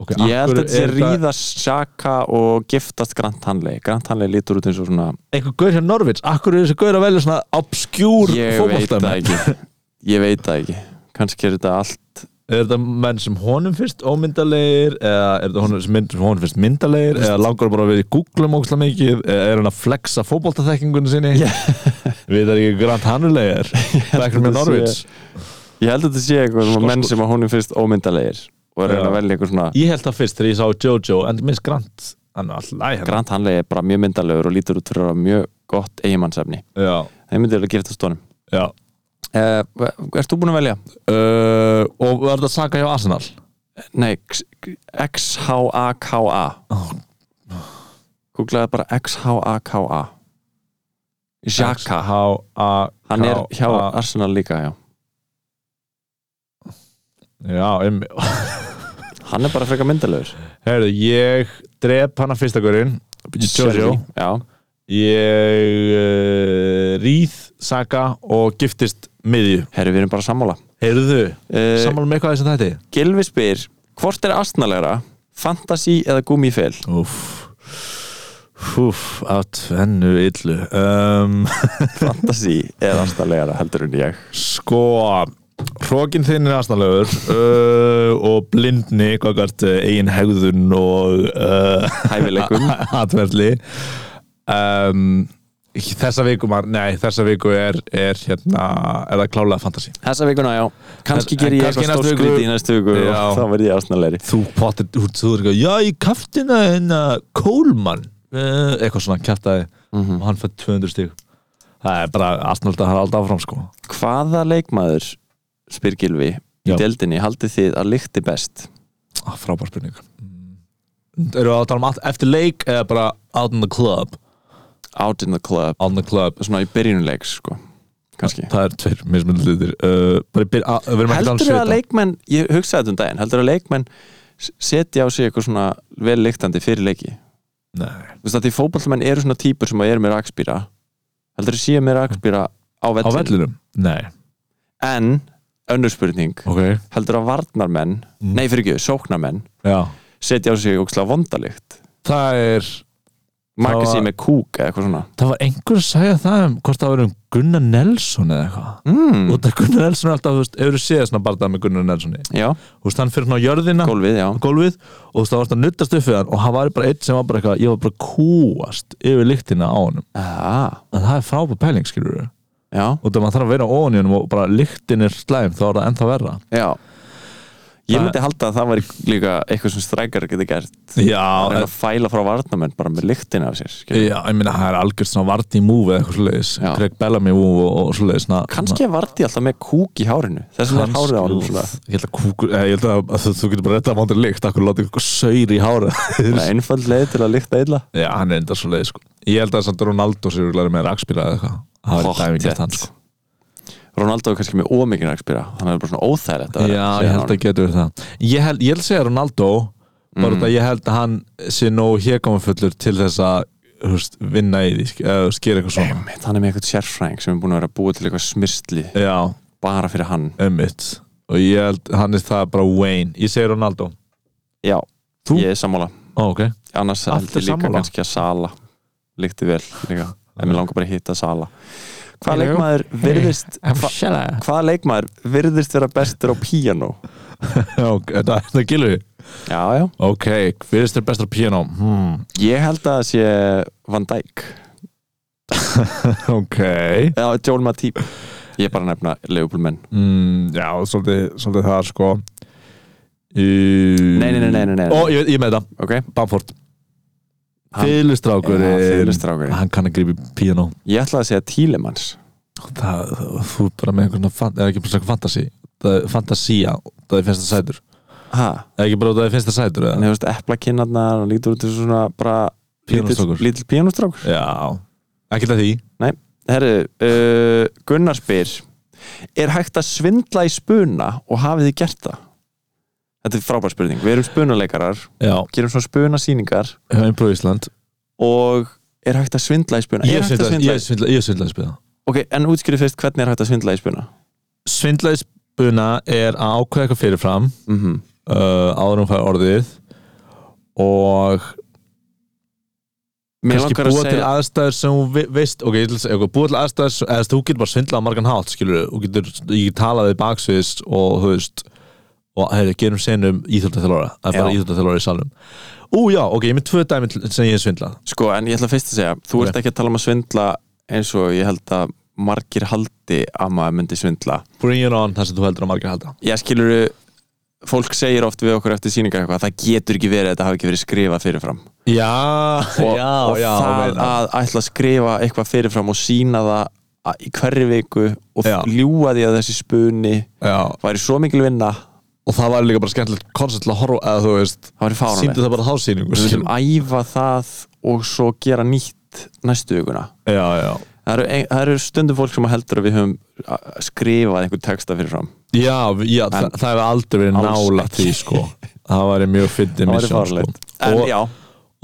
Speaker 4: okay,
Speaker 3: ég held að þetta sé ríðast Sjaka og giftast Grant Hanley Grant Hanley lítur út eins og svona
Speaker 4: Einhver gaur hjá Norvits, akkur er þessi gaur að velja svona obskjúr
Speaker 3: ég veit það
Speaker 4: fótboltamenn
Speaker 3: ekki ég veit það ekki kannski er þetta allt
Speaker 4: Er þetta menn sem honum finnst ómyndalegir eða er þetta honum sem, mynd, sem honum finnst myndalegir eða langar bara við googlum ógstlega mikið eða er hann að flexa fótboltaþekkingunni sinni
Speaker 3: Já.
Speaker 4: Við erum ekki grant hannulegir Bækur með
Speaker 3: þetta
Speaker 4: Norvits
Speaker 3: ég held að þetta sé eitthvað
Speaker 4: Sko,
Speaker 3: sko, menn
Speaker 4: sko.
Speaker 3: sem að honum finnst ómyndalegir og er að reyna
Speaker 4: Já.
Speaker 3: að velja eitthvað svona
Speaker 4: Ég held það fyrst þegar ég sá Jojo en minnst grant Hann er alltaf hérna. læg
Speaker 3: Grant Hanley er bara mjög myndalegur og lítur út fyrir að vera mjög gott eiginmannsefni
Speaker 4: Já,
Speaker 3: það myndi alveg gera þetta stónum
Speaker 4: já
Speaker 3: uh, Erst þú búin að velja?
Speaker 4: uh, og var þetta Saka hjá Arsenal
Speaker 3: Nei, X- X-H-A-K-A
Speaker 4: oh.
Speaker 3: googlaði bara X-H-A-K-A Xhaka
Speaker 4: H-A-K-A
Speaker 3: hann er hjá Arsenal líka já.
Speaker 4: já, um,
Speaker 3: hann er bara frekar myndalegur
Speaker 4: heyrðu, ég drep hana fyrsta gurinn Jojo
Speaker 3: já,
Speaker 4: ég uh, ríð Saka og giftist miðju
Speaker 3: herru við erum bara sammála
Speaker 4: heyrðu,
Speaker 3: Eh,
Speaker 4: sammála með eitthvað þess að þetta
Speaker 3: Gilvi spyr hvort er astnalegra, fantasy eða gummifel
Speaker 4: uff Úf, að tvennu illu um,
Speaker 3: fantasy eða astnalegra heldur en ég
Speaker 4: Sko Hrókin þinn er aðsnalegur uh, og blindni, hvað gart eigin hegðun og uh,
Speaker 3: hæfileikum
Speaker 4: atverðli um, þessa viku mar, nei, þessa viku er, er hérna, er það klálega fantasi
Speaker 3: þessa vikuna já, kannski
Speaker 4: En-
Speaker 3: ger
Speaker 4: en
Speaker 3: ég
Speaker 4: kannski
Speaker 3: eitthvað
Speaker 4: næstu
Speaker 3: stórskriti
Speaker 4: viku-
Speaker 3: í næstu viku
Speaker 4: Já.
Speaker 3: og þá verð ég astnalegri
Speaker 4: þú pottir, þú þú er eitthvað já, ég kaftina hennar Kólmann uh, eitthvað svona kæftaði og hann fætt 200 stíg það er bara, aðsnaldi að hann alltaf áfram sko
Speaker 3: hvaða leikmaður spyr Gilvi í
Speaker 4: Já.
Speaker 3: deldinni haldið þið að lykti best
Speaker 4: ah, frábær spurning eru það að tala um allt eftir leik eða bara out in the club
Speaker 3: out in the club,
Speaker 4: on the club
Speaker 3: svona í byrjunuleiks sko, kannski
Speaker 4: það er tveir mismunandi litir uh, bara í byr, að, um við erum ekki
Speaker 3: heldur að leikmenn, ég hugsaði þetta um daginn heldur að leikmenn s- setja á sig eitthvað svona vel lyktandi fyrir leiki
Speaker 4: Nei.
Speaker 3: þú veist að því fótballmenn eru svona típur sem eru meira akspýra heldur þú séu meira akspýra á
Speaker 4: Á
Speaker 3: vellin
Speaker 4: vellinum? Nei
Speaker 3: en önnur spurning
Speaker 4: Ok Mhm.
Speaker 3: heldur að varnarmenn, nei fyrir ekki, sóknarmenn
Speaker 4: Já
Speaker 3: setja á sig ógslag vondalikt
Speaker 4: Það er
Speaker 3: maka
Speaker 4: Það
Speaker 3: sig
Speaker 4: var-
Speaker 3: með kúk eða eitthvað svona
Speaker 4: Það var einhver að segja það um hvort það var um Gunnar Nelson eða eitthvað
Speaker 3: mm,
Speaker 4: Og það Gunnar Nelson er alltaf, þú veist, hefur séð svona barndað með Gunnar Nelsoni
Speaker 3: já,
Speaker 4: Þú veist, hann fyrir hann á jörðina
Speaker 3: gólfið, já
Speaker 4: á gólfið og þú veist, það varst að nuttast upp við hann og hann var bara einn sem var bara eitthvað, ég var bara kúast yfir lyktina á honum
Speaker 3: ah,
Speaker 4: en það er frábæð pæling, skilur við
Speaker 3: já,
Speaker 4: og það maður þarf að vera ofan í honum og bara lyktin er slæm þá er það ennþá verra
Speaker 3: já ég
Speaker 4: Það-
Speaker 3: myndi halda að það væri líka eitthvað sem strækar getur gert að
Speaker 4: Já,
Speaker 3: reyna að fæla frá varnarmenn bara með lyktina af sér skilur.
Speaker 4: já ég meina, það er algjörst svona vardi múf eða eitthvað svoleiðis
Speaker 3: Já.
Speaker 4: Greg Bellamy múf og, og svoleiðis svona-
Speaker 3: kannski er varti alltaf með kúk í hárinu þessum er hárið á hann
Speaker 4: Úff,
Speaker 3: svona
Speaker 4: Ég held að, kúkur, eh, ég held að, að þú, þú getur bara rettað að vanda lykt Akkur láta ykkur saur í hára
Speaker 3: Það er einfald leið til að lykta illa
Speaker 4: Já, hann er enda svo leið sko. Ég held að samt Ronaldo sér úrlega með rakspýra eða eitthvað Það var í
Speaker 3: Hott
Speaker 4: dæmi
Speaker 3: rétt.
Speaker 4: gert hann sko.
Speaker 3: Ronaldo er kannski með ómikið rakspýra Þannig er bara svona óþægilegt að
Speaker 4: Já,
Speaker 3: vera
Speaker 4: ég held að getur það Ég held, ég held að segja Ronaldo Bara mm. að ég held að hann sé nóg hégamafullur Til þess að þú veist, vinna í því sk- eða þú veist, gera eitthvað svona
Speaker 3: Mitt, Hann er með eitthvað sérfræðing sem er búin að vera að búa til eitthvað smyrsli
Speaker 4: Já,
Speaker 3: Bara fyrir hann
Speaker 4: emmitt Og ég held, hann er það bara Wayne Ég segi Ronaldo
Speaker 3: Já,
Speaker 4: Þú?
Speaker 3: ég er sammála
Speaker 4: Ó, ok
Speaker 3: Annars held
Speaker 4: Allt
Speaker 3: ég
Speaker 4: er
Speaker 3: líka
Speaker 4: sammála.
Speaker 3: kannski að Sala Líkti vel líka En mér langar bara að hitta Sala Hvaða
Speaker 4: Hello.
Speaker 3: leikmaður virðist
Speaker 4: I'm
Speaker 3: hva-
Speaker 4: Salah.
Speaker 3: Hvaða leikmaður virðist vera bestur á píanó
Speaker 4: Já, ok, þetta þetta er gilvið
Speaker 3: Já, já
Speaker 4: Ok, fyrirst er bestur piano hmm.
Speaker 3: Ég held að það sé Van Dijk
Speaker 4: Ok
Speaker 3: Eða Joel Matip Ég er bara að nefna leifupulmenn
Speaker 4: Mm, já, svolítið, svolítið það sko í...
Speaker 3: Nei, nei, nei, nei, nei, nei.
Speaker 4: Ó, ég, ég með það,
Speaker 3: Ok,
Speaker 4: Bamford
Speaker 3: Hann-
Speaker 4: Fylustrákur
Speaker 3: fyrirlistrákur
Speaker 4: Hann kann að grípi piano
Speaker 3: Ég ætlaði að segja Tílemanns
Speaker 4: það, það, Þú er bara með einhvern fan- eða ekki bara svona fantasi það er fantasía, það er finnst það sætur
Speaker 3: Ha,
Speaker 4: eða ekki bara það er finnst það sætur
Speaker 3: hann
Speaker 4: eða?
Speaker 3: hefur eplakinnarnar hann lítur út þessu svona bara
Speaker 4: Píanóstrákur.
Speaker 3: lítill- lítill píanóstrákur
Speaker 4: Já, ekki það því
Speaker 3: Herru, uh, Gunnar spyr Er hægt að svindla í spuna og hafið þið gert það? Þetta er frábær spurning, við erum spunaleikarar
Speaker 4: Já,
Speaker 3: gerum svona spunasýningar
Speaker 4: hefum próf Ísland
Speaker 3: og er hægt að svindla í spuna?
Speaker 4: Ég
Speaker 3: er hægt að svindla
Speaker 4: svindlaði ég
Speaker 3: í...
Speaker 4: svindla- ég svindlaði spuna
Speaker 3: Ok, en útskýrið fyrst hvernig er hægt að svindla í spuna?
Speaker 4: Svindlaði spuna er að ákveða eitthvað fyrirfram
Speaker 3: Mm
Speaker 4: uh, áður en hún fær orðið og
Speaker 3: Mér
Speaker 4: kannski
Speaker 3: langar að
Speaker 4: búa til
Speaker 3: segja
Speaker 4: aðstæður sem hún vi- veist ok, ég ætla að segja, ok, búa til aðstæður sem- eða þú veist, þú getur bara svindlað á margan hátt, skilur þú getur, ég get talað við baksviðs og þú veist, og hefur, gerum senum íþjóttaþjálóra, það er bara
Speaker 3: Já.
Speaker 4: íþjóttaþjálóra í salnum ú já, ok, ég er með tvö dæmi til- sem ég hef svindlað
Speaker 3: Sko, en ég ætla fyrst að segja, þú
Speaker 4: Ok.
Speaker 3: ert ekki að tala um að svindla eins og ég held að margir haldi að maður myndi svindla.
Speaker 4: bring it on, það sem þú heldur að margir halda
Speaker 3: Ég skilur, fólk segir oft við okkur eftir síningar eitthvað, það getur ekki verið að þetta hafi ekki verið skrifað fyrirfram.
Speaker 4: já,
Speaker 3: Og,
Speaker 4: já,
Speaker 3: og
Speaker 4: já,
Speaker 3: það
Speaker 4: meina.
Speaker 3: að ætla að skrifa eitthvað fyrirfram og sína það að- í hverri viku og
Speaker 4: Já.
Speaker 3: ljúga því að þessi spuni
Speaker 4: já,
Speaker 3: væri svo mikil vinna,
Speaker 4: og það var líka bara skemmtilegt koncept til að horfa, eða þú veist
Speaker 3: það væri
Speaker 4: síndu
Speaker 3: fáránlegt.
Speaker 4: það bara þá síningu,
Speaker 3: Við
Speaker 4: skilur
Speaker 3: viljum æfa það og svo gera nýtt næstu vikuna.
Speaker 4: já, já,
Speaker 3: Það eru, ein- það eru stundum fólk sem heldur að við höfum að- skrifað einhvern texta fyrirfram
Speaker 4: já, já það, það hefur aldrei verið
Speaker 3: Alls
Speaker 4: nála
Speaker 3: ekki.
Speaker 4: því, sko það væri mjög fyndið
Speaker 3: Það væri
Speaker 4: misjón, sko.
Speaker 3: fárlegt En
Speaker 4: Og-
Speaker 3: já,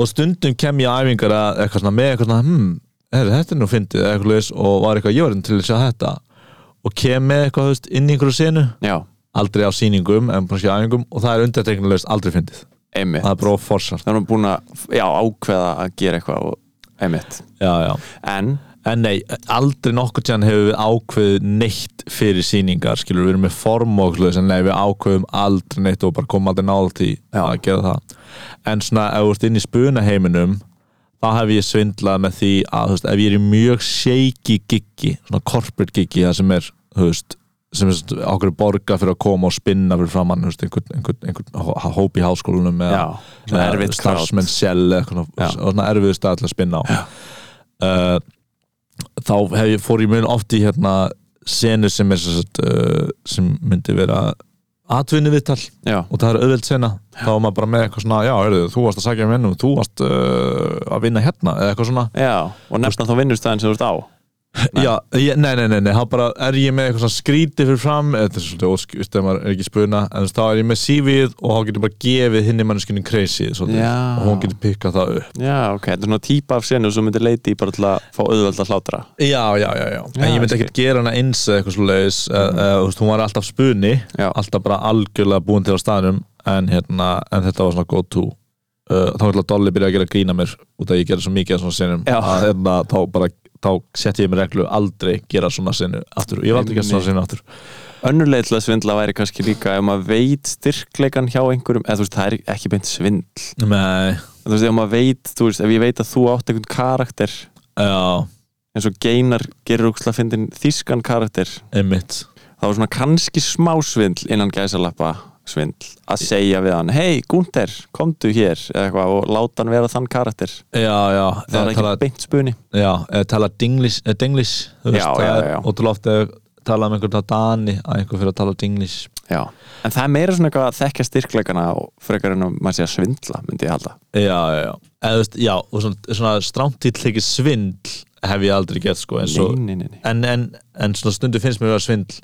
Speaker 4: og stundum kem ég á æfingar að eitthvað svona með eitthvað svona hmm, er, þetta er nú fyndið eða eitthvað leis og var eitthvað jörn til að sjá þetta og kem með eitthvað þú veist, inn í einhverju senu
Speaker 3: já,
Speaker 4: aldrei á sýningum en bara sér æfingum og það er undirteknulegust aldrei fyndið
Speaker 3: einmitt
Speaker 4: það er bara forsart
Speaker 3: Það erum búin að já, ákveða að gera eitthvað og, einmitt
Speaker 4: já, já.
Speaker 3: En,
Speaker 4: en nei, aldrei nokkur tján hefur við ákveðið neitt fyrir sýningar skilur við erum með form og eitthvað leis en nei, við ákveðum aldrei neitt og bara komum aldrei nála því
Speaker 3: Já.
Speaker 4: að gera það en svona ef þú ert inn í spunaheiminum þá hef ég svindlað með því að þú veist, ef ég er í mjög shaky giggi svona corporate giggi það sem er þú veist, sem er svona okkur borga fyrir að koma og spinna fyrir framann þú veist, einhvern, einhvern, einhvern hó- hóp í háskólanum eða
Speaker 3: já, svona
Speaker 4: eða
Speaker 3: erfitt
Speaker 4: starfsmenn sjæl eða eitthvað
Speaker 3: Já.
Speaker 4: og svona erfiðu stað til að spinna á uh, þá hef ég fór ég mun oft í hérna senu sem er sem, sagt, uh, sem myndi vera atvinni viðtal
Speaker 3: crowd. Já,
Speaker 4: og það er auðveld sena þá var maður bara með eitthvað svona, já, heyrðu, þú varst að sagja um vinnum, þú varst uh, að vinna hérna eða eitthvað svona,
Speaker 3: já, og nefna þá vinnustæðin sem þú ert á
Speaker 4: Já, ég, nei, nei, nei, nei, hann bara er ég með eitthvað svona skríti fyrir fram eða þetta er svolítið óskust ef maður er ekki spuna en þú veist, þá er ég með CV-ið og hann getur bara gefið hinni manneskunni kreisið svolítið
Speaker 3: Já.
Speaker 4: og hún getur pikkað það upp
Speaker 3: Já, ok, þetta er svona típa af senu sem myndi leiti í bara til að fá auðveld að hlátra
Speaker 4: Já, já, já, já,
Speaker 3: Já,
Speaker 4: en ég myndi
Speaker 3: ég
Speaker 4: ekkert gera hana eins eða eitthvað svo leiðis, mm. uh, hún var alltaf spuni
Speaker 3: Já.
Speaker 4: alltaf bara algjörlega búin til á staðnum en, hérna, en þetta var svona go to uh, þá ætla Dolly byrja að gera grína mér út af að ég gera svo mikið af svona sinum
Speaker 3: Já.
Speaker 4: að hérna, þá bara þá setti ég mér reglu aldrei gera svona sinu aftur, ég var aldrei að gera svona sinu aftur
Speaker 3: Önnurleið til að svindla væri kannski líka ef maður veit styrkleikan hjá einhverjum eða þú veist, það er ekki beint svindl
Speaker 4: Nei,
Speaker 3: En þú veist, ef maður veit, þú veist, ef ég veit að þú átt einhvern karakter
Speaker 4: já,
Speaker 3: eins og geinar gerir úksla fyndin þýskan karakter
Speaker 4: einmitt
Speaker 3: þá er svona kannski smá svindl innan gæsalappa svindl að segja við hann, hei Gunther, komdu hér eða eitthvað og láta hann vera þann karakter
Speaker 4: Já, já,
Speaker 3: það er
Speaker 4: eða
Speaker 3: ekki
Speaker 4: tala,
Speaker 3: beint spuni
Speaker 4: já, eða tala dinglish, eh, dinglish þú
Speaker 3: Já,
Speaker 4: það
Speaker 3: já,
Speaker 4: er
Speaker 3: já.
Speaker 4: ótrúlega oft að tala um einhvern að Dani að einhver fyrir að tala dinglish
Speaker 3: Já. en það er meira svona eitthvað að þekkja styrkleikana og frekar en að maður sé að svindla myndi ég halda
Speaker 4: Já, já, já, eða, þú veist, já og svona, svona strámtill ekki svindl hef ég aldrei gett sko en, svo,
Speaker 3: nei, nei, nei.
Speaker 4: en, en, en svona stundu finnst mér að vera svindl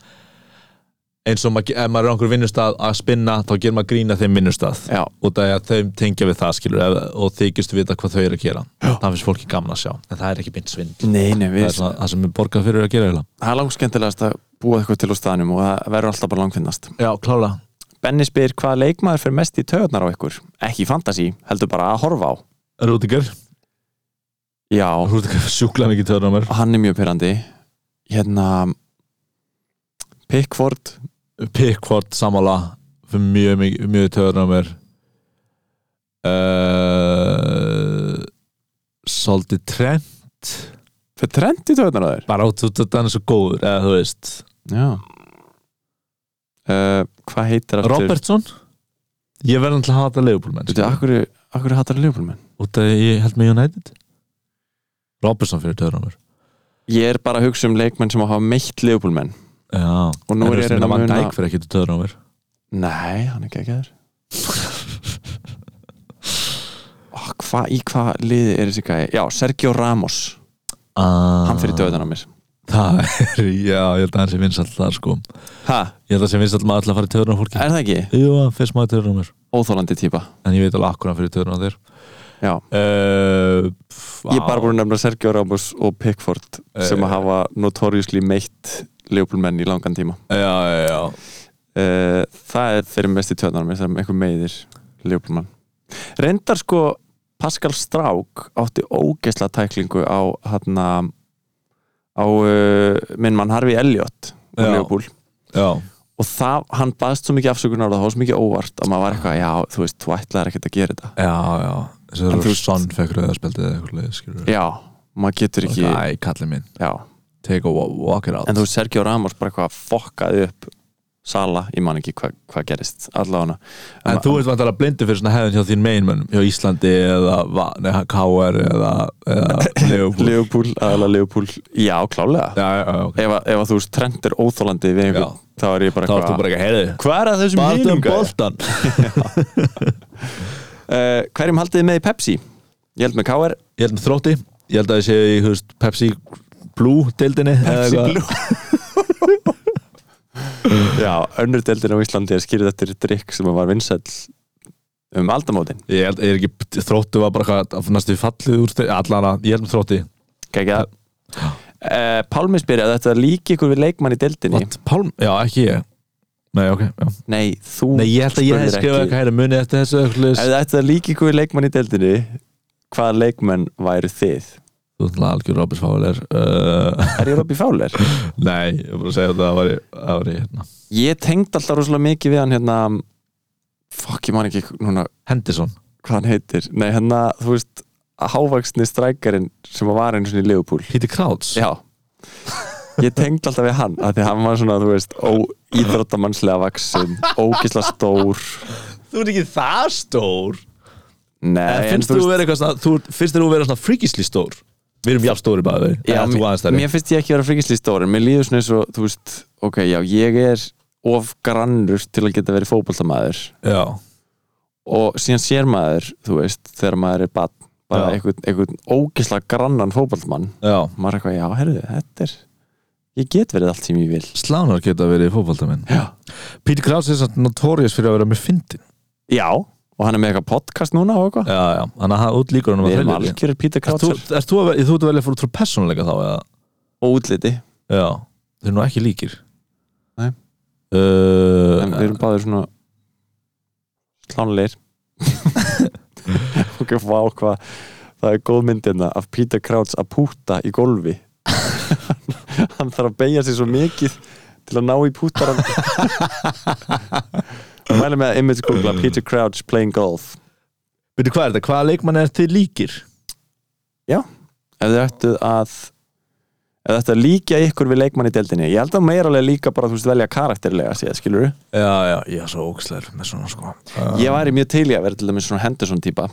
Speaker 4: eins og maður, ef maður er á einhver vinnustað að spinna þá gerir maður grína þeim vinnustað
Speaker 3: Já,
Speaker 4: út af því að þau tengja við það skilur ef, og þykist vita hvað þau eru að gera það finnst fólki gaman að sjá, en það er ekki beint svindl
Speaker 3: nei, nei,
Speaker 4: það
Speaker 3: við
Speaker 4: er svona það sem er borgað fyrir að gera eiginlega.
Speaker 3: það er langskemmtilegast að búa eitthvað til úr staðnum og það verður alltaf bara langfinnast
Speaker 4: Já, klála
Speaker 3: Benni spyr hvaða leikmaður fyrir mest í töðunar á ykkur ekki í fantasy, heldur bara að horfa á
Speaker 4: Rúdingar,
Speaker 3: Já,
Speaker 4: Rúdingar sjúkla mikið törnum er
Speaker 3: hann er mjög pyrrandi hérna Pickford
Speaker 4: Pickford samála fyrir mjög mikið mjög törnum er uh, Solti Trent
Speaker 3: fyrir Trent í töðunar á þér
Speaker 4: bara út út að hann er svo góður eða þú veist
Speaker 3: Já uh, Hvað heitir aftur?
Speaker 4: Robertson ég verði alltaf að hata leifbólmenn
Speaker 3: Þú veit, akkur, akkur hattar Leopoldmenn
Speaker 4: út að ég held með United Robertson fyrir törnum er
Speaker 3: Ég er bara að hugsa um leikmenn sem hafa meitt Leopoldmenn
Speaker 4: Já,
Speaker 3: og nú er ég að reyna að
Speaker 4: Van
Speaker 3: muna
Speaker 4: Dijk fyrir ekki törnum er
Speaker 3: Nei, hann er geggjaður Ó, hva, Í hvað liði er þessi gæði? Já, Sergio Ramos Hann fyrir döðan á mér
Speaker 4: Ah, Það er, já, ég held að hann sé vinsall það sko
Speaker 3: ha,
Speaker 4: Ég held að sé vinsall maður alltaf að fara í törnum fólki
Speaker 3: Er það ekki?
Speaker 4: Jú, hann fyrst maður törnum mér
Speaker 3: Óþólandi típa
Speaker 4: En ég veit alveg akkur hann fyrir törnum þér
Speaker 3: Já.
Speaker 4: uh,
Speaker 3: Ég er bara búin að nefna Sergio Ramos og Pickford sem
Speaker 4: Eh.
Speaker 3: að hafa notoriously meitt Leopoldmenn í langan tíma
Speaker 4: Já, já, já
Speaker 3: Eh, það er fyrir mest í tjóðanum sem einhver meiðir Leopoldmann reyndar sko Pascal Strák átti ógeðsla tæklingu á hann á uh, minn mann Harfi Elliot og
Speaker 4: Já.
Speaker 3: Leopold
Speaker 4: Já,
Speaker 3: og það, hann baðst svo mikið afsökunar og það var svo mikið óvart að maður var eitthvað, já, þú veist, þú ætlaðir ekkert að gera þetta
Speaker 4: já, já Þessi
Speaker 3: En
Speaker 4: er
Speaker 3: þú-
Speaker 4: að sonn fekk rauðarspjaldið eða eitthvað leið, skilur
Speaker 3: já, maður getur ekki
Speaker 4: Æ, kallið minn,
Speaker 3: já.
Speaker 4: take a walk, walk it out
Speaker 3: en þú veist, Sergio Ramos bara eitthvað fokkaði upp Sala, ég man ekki hvað hva gerist allavega
Speaker 4: En þú ert vantar að blindi fyrir svona hefðin hjá þín meginmönnum Hjá Íslandi eða Va- nei, KR eða, eða Leopold
Speaker 3: Leopold, aðalega Leopold já, klálega
Speaker 4: Já, já, já, ok
Speaker 3: ef, að- ef að þú veist trend er óþólandi við einhvern, þá er ég bara "Ah,
Speaker 4: Þá ertu bara ekki að heyri
Speaker 3: hvað er að þessum
Speaker 4: Barðu um
Speaker 3: hinum gæja?
Speaker 4: boltan
Speaker 3: uh, hverjum haldið þið með í Pepsi? ég held með KR
Speaker 4: ég held með þrótti ég held að ég sé í þú veist, Pepsi Blue deildinni
Speaker 3: Pepsi
Speaker 4: eða eitthvað.
Speaker 3: Blue já, önnur deildin á Íslandi er skýrð eftir drikk sem var vinsæll um aldamótin
Speaker 4: ég held ég er ekki þróttu var bara hvað að næstu fallið úr þeir allana ég held með þrótti
Speaker 3: kækja uh, Pálmi spyrir að þetta líki ykkur við leikmann í deildinni
Speaker 4: What? Pálm já ekki ég nei ok já.
Speaker 3: nei, þú
Speaker 4: nei ég held að ég hef
Speaker 3: spurðir
Speaker 4: skrifað
Speaker 3: ekki.
Speaker 4: eitthvað hægri munið eftir þessu eitthvað
Speaker 3: ef
Speaker 4: svoleiðis.
Speaker 3: þetta er líki ykkur við leikmann í deildinni hvaða leikmenn væru þið?
Speaker 4: þú ætlaði algjör Robert Fowler uh,
Speaker 3: Er ég Robby Fowler?
Speaker 4: nei ég er bara að segja þetta það var í það var í hérna
Speaker 3: Ég tengd alltaf rosalega mikið við hann hérna Fuck, ég man ekki núna
Speaker 4: Henderson
Speaker 3: hvað hann heitir Nei, hérna, þú veist, hávaksni strækarinn sem var einu svona í Leopold
Speaker 4: Peter Krauts
Speaker 3: Já Ég tengd alltaf við hann af Því að hann var svona, þú veist, óíþróttamannslega vaksin Ógisla stór
Speaker 4: þú ert ekki það stór en
Speaker 3: Nei,
Speaker 4: finnst þú vera eitthvað svona þú ert- finnst þér þú vera svona freakishly stór við erum jafn stóri bæði
Speaker 3: já,
Speaker 4: en þú aðeins
Speaker 3: mér,
Speaker 4: stærri.
Speaker 3: mér finnst ég ekki vera fríkisli stór En mér líður svona eins og, þú veist, ok, já, ég er of grannur til að geta verið fótboltamaður
Speaker 4: já
Speaker 3: og síðan sér maður, þú veist, þegar maður er barn bara
Speaker 4: Já.
Speaker 3: einhvern, einhvern ógisla grannan fótballmann
Speaker 4: já
Speaker 3: og maður er eitthvað, já, herðu, þetta er ég get verið allt sem ég vil
Speaker 4: Slánar geta verið í fótboltamenn
Speaker 3: já,
Speaker 5: Pítur Krás er samt notorious fyrir að vera með fyndin
Speaker 3: já og hann er með eitthvað podcast núna og eitthvað
Speaker 4: Já, já, þannig að það útlíkur hann
Speaker 3: við erum
Speaker 4: þriðji.
Speaker 3: algjörir Peter
Speaker 4: Ert þú,
Speaker 3: Croucher
Speaker 4: ert þú, að, ve- þú ert að velja fyrir trú persónuleika þá eða?
Speaker 3: og útliti,
Speaker 4: Já, þeir eru nú ekki líkir
Speaker 3: Nei.
Speaker 4: uh,
Speaker 3: en við erum báðir svona slánleir ok, vá hvað það er góð myndina af Peter Crouch að púta í golfi hann þarf að beigja sig svo mikið til að ná í pútaran mælum með að image googla Peter Crouch playing golf
Speaker 4: Veitu hvað er þetta? Hvaða leikmann er þið líkir?
Speaker 3: ef þið ættu að ef þetta líkja ykkur við leikmann í deildinni ég held að meira alveg líka bara þú veist velja karakterlega séð, skilur
Speaker 4: Já, já, ég er svo ókslegur með svona sko uh,
Speaker 3: ég væri mjög til í að vera til dæmis svona Henderson típa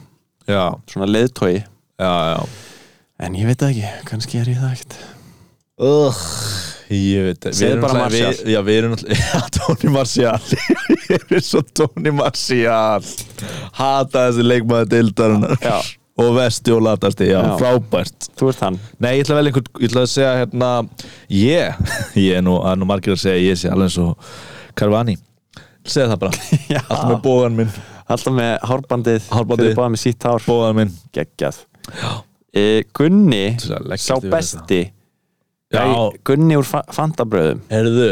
Speaker 4: Já,
Speaker 3: svona leiðtói
Speaker 4: já, já
Speaker 3: en ég veit það ekki, kannski er ég það ekkert
Speaker 4: Ugh, ég veit það
Speaker 3: Segðu bara Martial.
Speaker 4: náttúrulega- við, Já, við erum náttúrulega Já, Tony Martial Ég er svo Tony Martial Hata þessi leikmaður deildarinnar
Speaker 3: Já.
Speaker 4: Og vesti og latasti, já,
Speaker 3: Já.
Speaker 4: frábært
Speaker 3: þú ert hann,
Speaker 4: Nei, ég ætla að velja einhvern, ég ætla að segja hérna Ég, ég er nú, það er nú margir að segja Ég sé alveg eins og Carvani Segð það bara,
Speaker 3: Já.
Speaker 4: alltaf með bógan minn
Speaker 3: alltaf með hárbandið
Speaker 4: Hárbandið.
Speaker 3: fyrir báða með sítt hár,
Speaker 4: Bógan minn
Speaker 3: geggjað e, Gunni,
Speaker 4: Þú sagði leggjast
Speaker 3: sá
Speaker 4: yfir
Speaker 3: besti
Speaker 4: Já.
Speaker 3: Nei, Gunni úr fa fantabröðum
Speaker 4: Erðu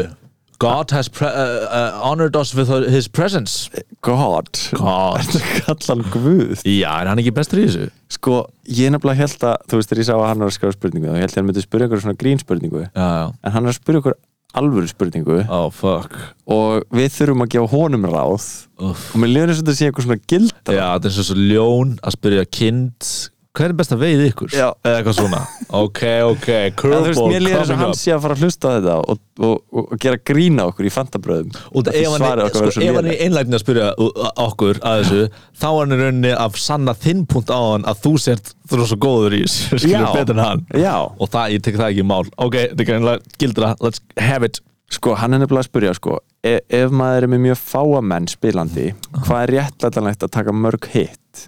Speaker 4: God has pre uh, uh, honored us with his presence
Speaker 3: God,
Speaker 4: God
Speaker 3: kallan guð
Speaker 4: Já, er hann ekki bestur í þessu?
Speaker 3: sko, ég nefnilega held að þú veist þegar ég sá að hann var að skjáða spurningu þá ég held ég að hann myndi spyrja ykkur svona grínspurningu
Speaker 4: Já, já
Speaker 3: en hann er að spyrja ykkur alvöru spurningu
Speaker 4: Oh, fuck
Speaker 3: og við þurfum að gefa honum ráð
Speaker 4: Uff.
Speaker 3: og mér líður eins og þetta sé eitthvað svona gildra
Speaker 4: Já, þetta er svo svo ljón að spyrja kind Hver er best að veið ykkur?
Speaker 3: Já.
Speaker 4: Eða eitthvað svona Ok, ok,
Speaker 3: En þú veist,
Speaker 4: curveball
Speaker 3: mér líður eins og
Speaker 4: coming
Speaker 3: hann
Speaker 4: up
Speaker 3: sé að fara að hlusta á þetta og, og, og, og gera grína okkur í fantabröðum
Speaker 4: Og
Speaker 3: Af því
Speaker 4: ef hann
Speaker 3: svarið
Speaker 4: er,
Speaker 3: okkar
Speaker 4: sko,
Speaker 3: verður svo
Speaker 4: ef hann er
Speaker 3: lélegt.
Speaker 4: einlægni að spyrja uh, okkur að þessu þá er hann í rauninni að sanna þinn punkt á hann að þú sért þú er svo góður í þessu skilur
Speaker 3: Já.
Speaker 4: betur en hann
Speaker 3: Já,
Speaker 4: og það, ég tek það ekki í mál ok, þetta er greinlega gildra, let's have it
Speaker 3: sko, hann er nefnilega að spyrja sko, e ef maður er með mjög fáamenn spilandi, hvað er réttlætanlegt að taka mörg hitt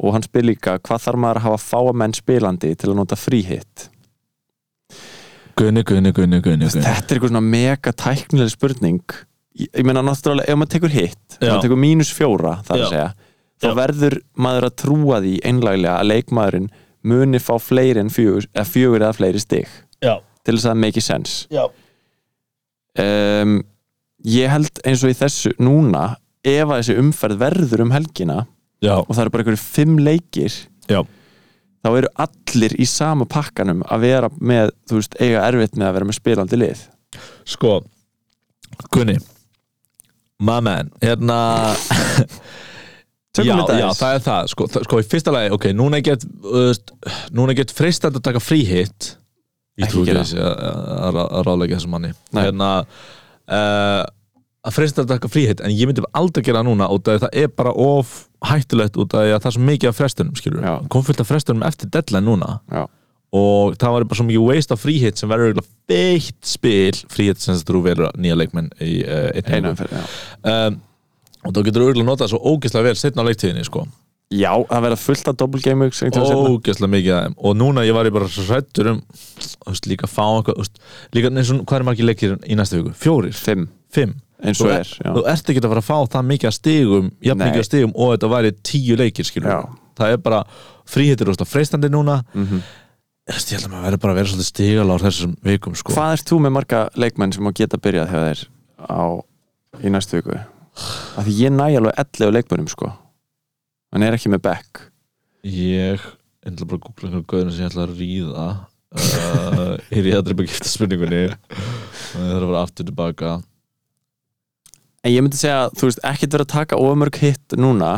Speaker 3: og hann spyr líka, hvað þarf maður að hafa fáamenn spilandi til að nota fríhitt
Speaker 4: Gunni, Gunni, Gunni, Gunni, Gunni.
Speaker 3: Þetta er eitthvað svona mega tæknileg spurning Ég, ég meina náttúrulega, ef maður tekur hitt ef
Speaker 4: Já.
Speaker 3: maður tekur mínus fjóra, það er að
Speaker 4: Já.
Speaker 3: segja þá
Speaker 4: Já.
Speaker 3: verður maður að trúa því einlæglega að leikmaðurinn muni fá fleiri en fjögur eða, fjögur eða fleiri stig
Speaker 4: Já.
Speaker 3: til þess að það make sense
Speaker 4: Já.
Speaker 3: um, Ég held eins og í þessu núna ef að þessi umferð verður um helgina
Speaker 4: Já.
Speaker 3: og það eru bara einhverju fimm leikir
Speaker 4: Já.
Speaker 3: þá eru allir í sama pakkanum að vera með, þú veist, eiga erfitt með að vera með spilandi lið
Speaker 4: sko Gunni my man, hérna
Speaker 3: Tökum
Speaker 4: já,
Speaker 3: þetta
Speaker 4: já,
Speaker 3: aðeins.
Speaker 4: það er það sko, það, sko í fyrsta lagi, ok, núna er gett uh, núna er gett freistandi að taka fríhitt ég
Speaker 3: Ekki
Speaker 4: trú ekki
Speaker 3: gera.
Speaker 4: þessi að- að að- að ráðleika þessum manni
Speaker 3: Nei.
Speaker 4: hérna uh, að freistandi að taka fríhitt en ég myndi aldrei gera það núna út af því það er bara of hættulegt út af því að það er svo mikið af frestunum skilur,
Speaker 3: Já.
Speaker 4: kom fullt af frestunum eftir deadline núna
Speaker 3: Já.
Speaker 4: og það var bara svo mikið waste af fríhitt sem verður eiginlega feitt spil fríhitt sem þú velur nýja leikmenn í uh,
Speaker 3: einu
Speaker 4: einu
Speaker 3: umferð já.
Speaker 4: um, og þú getur auðvitað notað svo ógeðslega vel setna á leiktíðinni sko
Speaker 3: já, það verða fullt af double game weeks einhvern tímann seinna.
Speaker 4: ógeðslega mikið af þeim og núna ég var ég bara svo hrættur um þú veist, líka að fá eitthvað þú veist, líka eins og hvað er margir leikir í næsta viku? Fjórir?
Speaker 3: fimm,
Speaker 4: Fimm?
Speaker 3: eins
Speaker 4: Þú,
Speaker 3: og
Speaker 4: er,
Speaker 3: er já.
Speaker 4: þú ert ekki að fara að fá það mikið að stigum jafn
Speaker 3: Nei.
Speaker 4: mikið að stigum og þetta væri tíu leikir skilur
Speaker 3: Já.
Speaker 4: við. það er bara fríhittir og freistandi núna mm -hmm. ég held að maður verður bara að vera svolítið stigalár þessum vikum sko
Speaker 3: hvað ert þú með marga leikmenn sem að geta byrjað hjá þér á, í næstu viku af því ég næ alveg 11 leikmennum sko hann er ekki með back
Speaker 4: Ég ég ætla bara að googla einhverjum gauðinu sem ég ætla að ríða uh, Ég ríða drepa gifta spurningunni Það þarf að vera aftur tilbaka
Speaker 3: en ég myndi segja, þú veist, ekkert verið að taka ofamörg hitt núna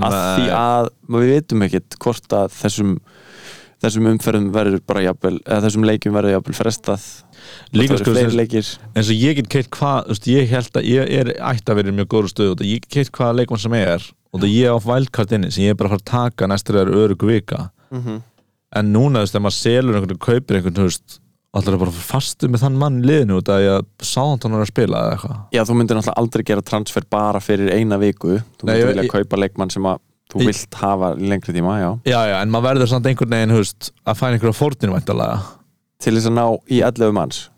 Speaker 3: af því að við veitum ekkert hvort að þessum þessum umferðum verður bara jafnvel eða þessum leikjum verður jafnvel frestað
Speaker 4: Líka
Speaker 3: það
Speaker 4: sko,
Speaker 3: verður fleiri
Speaker 4: þess-
Speaker 3: leikir
Speaker 4: eins og ég get keitt hvað þú veist, Ég held að ég er ætti að vera í mjög góru stöðu og ég get keitt hvaða leikmann sem er og það ég á vældkart inni sem ég er bara að fara að taka næstur eða örug vika
Speaker 3: Mhm.
Speaker 4: en núna þú veist, ef maður selur einhvern kaupir einhvern, þú veist, allar er bara að fara fastu með þann mann í liðinu út af því að sáðan er að spila eða eitthvað
Speaker 3: Já, þú myndir náttúrulega aldrei gera transfer bara fyrir eina viku Þú
Speaker 4: Nei,
Speaker 3: myndir
Speaker 4: ég-
Speaker 3: vilja
Speaker 4: ég-
Speaker 3: kaupa leikmann sem að þú vilt hafa lengri tíma, já
Speaker 4: já, já, en maður verður samt einhvern veginn hufst, að fæna einhverja fórninu væntalega
Speaker 3: til þess að ná í 11 manns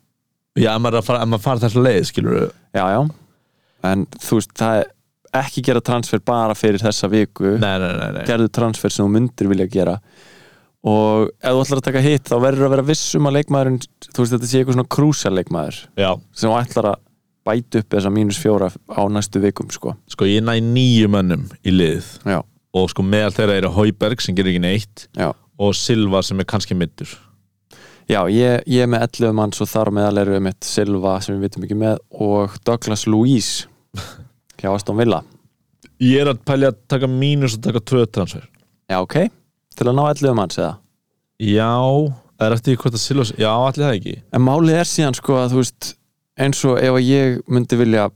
Speaker 4: já, ef maður, er að fara- ef maður fara þessu leið, skilur við
Speaker 3: já, já, en þú veist það er ekki gera transfer bara fyrir þessa viku
Speaker 4: nei, nei, nei, nei.
Speaker 3: gerðu transfer sem þú myndir vilja gera og ef þú ætlar að taka hitt þá verður að vera viss um að leikmaðurinn þú veist þetta sé eitthvað svona krúsa leikmaður
Speaker 4: já,
Speaker 3: sem þú ætlar að bæta upp þessa mínus fjóra á næstu vikum sko.
Speaker 4: sko ég næ nýju mönnum í lið
Speaker 3: já,
Speaker 4: og sko meðal þeirra eru Hauberg sem gerir ekki neitt
Speaker 3: já,
Speaker 4: og Silva sem er kannski middur
Speaker 3: já ég, ég er með 11 manns og þar á meðal eru við mitt Silva sem við vitum ekki með og Douglas Louise hjá Aston Villa
Speaker 4: ég er að pælja að taka mínus og taka tvö transfer
Speaker 3: já ok, til að ná 11 manns eða
Speaker 4: já, er eftir því hvort að Silva já, allir það ekki
Speaker 3: En málið er síðan sko að þú veist eins og ef að ég myndi vilja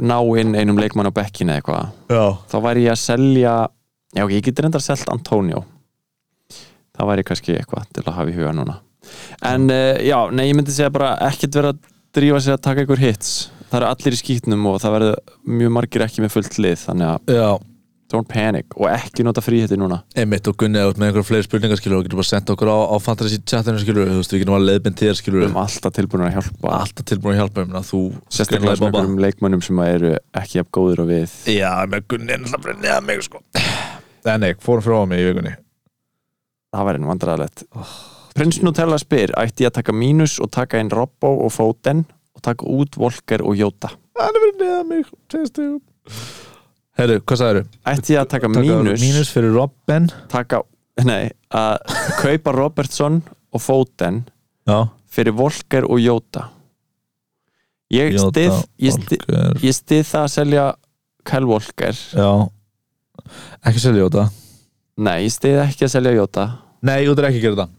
Speaker 3: ná inn einum leikmann á bekkinu eða eitthvað
Speaker 4: já,
Speaker 3: þá væri ég að selja já ok, ég geti reyndar að selja Antonio það væri kannski eitthvað til að hafa í huga núna en uh, já, nei, ég myndi segja bara ekkert vera að drífa sig að taka ykkur hits það eru allir í skýtnum og það verður mjög margir ekki með fullt lið þannig að
Speaker 4: já
Speaker 3: don't panic og ekki nota fríhetti núna
Speaker 4: Einmitt og Gunni eða út með einhverja fleiri spurningar skilur og getur bara sendt okkur á, á fantasy chatinu skilur þú veist við getum að leiðbind þér
Speaker 3: við
Speaker 4: skilur
Speaker 3: erum alltaf tilbúin að hjálpa
Speaker 4: alltaf tilbúin að hjálpa um að þú
Speaker 3: sérstaklega sem
Speaker 4: Bobba.
Speaker 3: einhverjum leikmannum sem að eru ekki jafn góður og við
Speaker 4: Já, með Gunni er náttúrulega bara neðan mig sko Nei, nei, fórum frá mig í vikunni
Speaker 3: það væri nú vandræðalegt Prins Nutella spyr, ætti ég að taka mínus og taka inn Robbo og Foden og taka út Volker og Jóta
Speaker 4: Hann er verið neðan mig, tegist þig Herru, hvað sagður?
Speaker 3: ætti ég að taka mínus,
Speaker 4: Mínus fyrir Robben
Speaker 3: taka, nei, að kaupa Robertson og Foden
Speaker 4: Já
Speaker 3: fyrir Volker og Jóta ég stið ég stið,
Speaker 4: Volker
Speaker 3: ég stið það að selja Kyle Volker
Speaker 4: Já Ekki selja Jóta
Speaker 3: nei, ég stið ekki að selja Jóta
Speaker 4: Nei, Jóta er ekki að gera þetta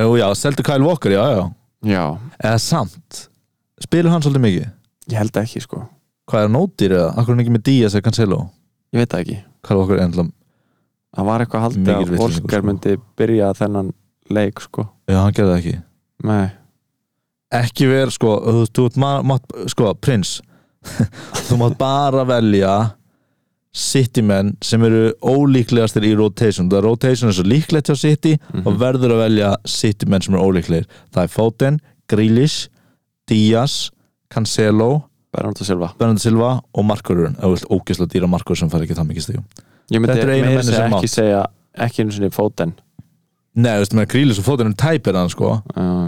Speaker 4: Jú, já, seldu Kyle Walker, já, já
Speaker 3: já,
Speaker 4: Eða samt Spilur hann svolítið mikið?
Speaker 3: ég held ekki sko
Speaker 4: Hvað er nótýr eða? Akkur er hann ekki með Díaz eða Cancelo?
Speaker 3: ég veit það ekki,
Speaker 4: Kyle Walker er ennlega
Speaker 3: það var eitthvað haldið
Speaker 4: Mikil
Speaker 3: að
Speaker 4: vitleysing,
Speaker 3: Volker
Speaker 4: sko.
Speaker 3: myndi byrja þennan leik sko,
Speaker 4: Já, hann gerði það ekki
Speaker 3: nei
Speaker 4: ekki verið sko, þú- þú ert ma- mátt, sko, prins þú mátt bara velja citymenn sem eru ólíklegastir í rotation, það er rotation er svo líklegt hjá city og verður að velja citymenn sem eru ólíklegir, það er Foden Grealish, Díaz Cancelo,
Speaker 3: Bernardo Silva
Speaker 4: Bernardo Silva og Markururinn, eða vilt ógisla dýra Markur sem fær ekki það mikið stíðum
Speaker 3: Ég myndi
Speaker 4: Þetta er einu
Speaker 3: meira
Speaker 4: menni
Speaker 3: segja
Speaker 4: sem
Speaker 3: ekki segja ekki einu sinni fóten
Speaker 4: Nei, þú veist, með Grealish og Foden um tæpir hann sko
Speaker 3: uh,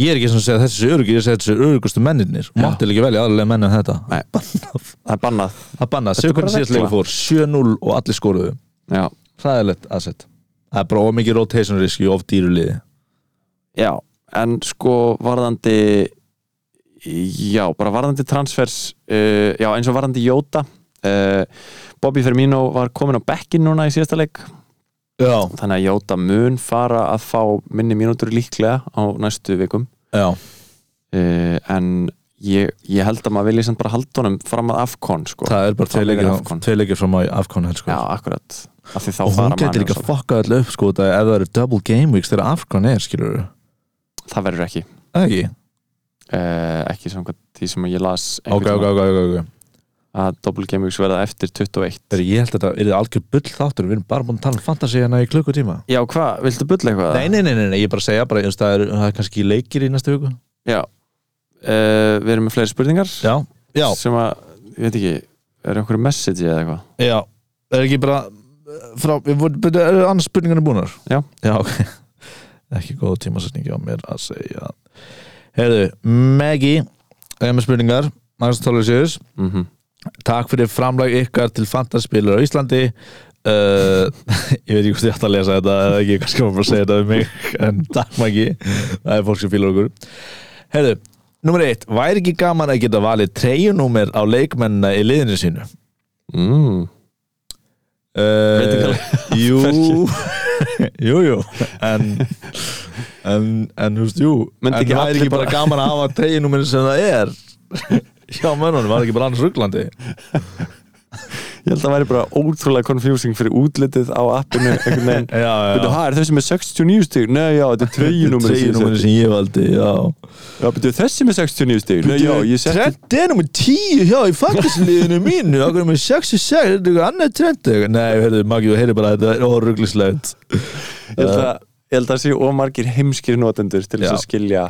Speaker 4: ég er ekki svona að segja þessi örugir, ég segja þessi örugustu menninir,
Speaker 3: Já.
Speaker 4: mátti ekki velja aðlega menn en þetta
Speaker 3: Nei. Það er bannað
Speaker 4: Það bannað,
Speaker 3: Þetta
Speaker 4: séu
Speaker 3: er bara
Speaker 4: hvernig síðast leikur
Speaker 3: regla.
Speaker 4: fór 7-0 og allir skoruðu
Speaker 3: Já,
Speaker 4: Hræðilegt asset Það er bara of mikið rotation risk í of dýru liði
Speaker 3: já. en sko varðandi Já, bara varðandi transfers uh, Já, eins og varðandi Jóta uh, Bobby Firmino var komin á bekkin núna í síðasta leik
Speaker 4: Já,
Speaker 3: Þannig að Jóta mun fara að fá minni mínútur líklega á næstu vikum
Speaker 4: já,
Speaker 3: uh, En ég, ég held að maður vilja samt bara halda honum fram að Afcon sko.
Speaker 4: það er bara
Speaker 3: Fram
Speaker 4: tvei
Speaker 3: yfir
Speaker 4: leikir,
Speaker 3: Afcon.
Speaker 4: tvei leikir fram á Afcon helst,
Speaker 3: Já,
Speaker 4: sko.
Speaker 3: akkurat Af því þá
Speaker 4: Og
Speaker 3: fara
Speaker 4: hún getur
Speaker 3: mann og
Speaker 4: líka að
Speaker 3: svona.
Speaker 4: fokka allir upp sko, þetta ef það eru double game weeks þegar Afcon er, skilur
Speaker 3: Það verður ekki
Speaker 4: Ekki?
Speaker 3: uh, ekki samkvæmt því sem ég las
Speaker 4: Ok,
Speaker 3: einhvern
Speaker 4: ok,
Speaker 3: tímann,
Speaker 4: ok, ok, ok
Speaker 3: að Double Game Weeks verða eftir 21
Speaker 4: Þegar ég held að þetta er algjör bull þáttur Við erum bara búin að tala um fantasy hérna í klukkutíma
Speaker 3: Já, hvað, viltu bulla eitthvað?
Speaker 4: Nei, nei, nei, nei, nei, ég er bara að segja bara, ég veist, það, er, það er kannski leikir í næstu viku
Speaker 3: Já, uh, við erum með fleiri spurningar
Speaker 4: Já, já,
Speaker 3: sem að, ég veit ekki, er okkur message eða eitthvað?
Speaker 4: já Er ekki bara eh, frá, við vorum- byrju, eru annars spurningarnir búnar?
Speaker 3: Já.
Speaker 4: Já, ok Ekki góð tímasetningi á mér að segja Heyrðu, Maggie er með spurningar Magnús Tólfsjöðus
Speaker 3: Mm
Speaker 4: Takk fyrir framlag ykkar til fantaspilur á Íslandi uh, Ég veit ekki hvort ég ætti að lesa þetta eða ekki, kannski maður bara að segja þetta um mig en takk Maggie, það er fólk sem fílar okkur Heyrðu, nummer eitt Væri ekki gaman að geta valið treyjunúmer á leikmennina í liðinu sínu?
Speaker 3: mm. Veit ekki
Speaker 4: Uh,
Speaker 3: alveg.
Speaker 4: jú Jú, jú En En, en húst, jú
Speaker 3: Myndi
Speaker 4: En
Speaker 3: ekki
Speaker 4: það er
Speaker 3: allir
Speaker 4: ekki bara
Speaker 3: bara-
Speaker 4: gaman að hafa teginúminn sem það er Já, mönnunum, var ekki bara annars rugglandi
Speaker 3: ég held að það væri bara ótrúlega confusing fyrir útlitið á appinu einhvern veginn
Speaker 4: Já, já.
Speaker 3: Byrju, hæ, er þessi með 69 stíg? Nei, já, þetta er treyjunúmerið sem ég setti.
Speaker 4: Treyjunúmerið sem ég valdi, já
Speaker 3: Já, byrju, þessi með 69 stíg? Nei, já, ég setti
Speaker 4: Trent er nummer 10 hjá í fantasliðinu mínu Okkur er með 66, þetta er eitthvað annað trend Nei, heyrðu, Maggi, þú heyrir bara að þetta er oruglislega
Speaker 3: Ég held að- ég held að það séu ómargir heimskir notendur til þess
Speaker 4: Já.
Speaker 3: að skilja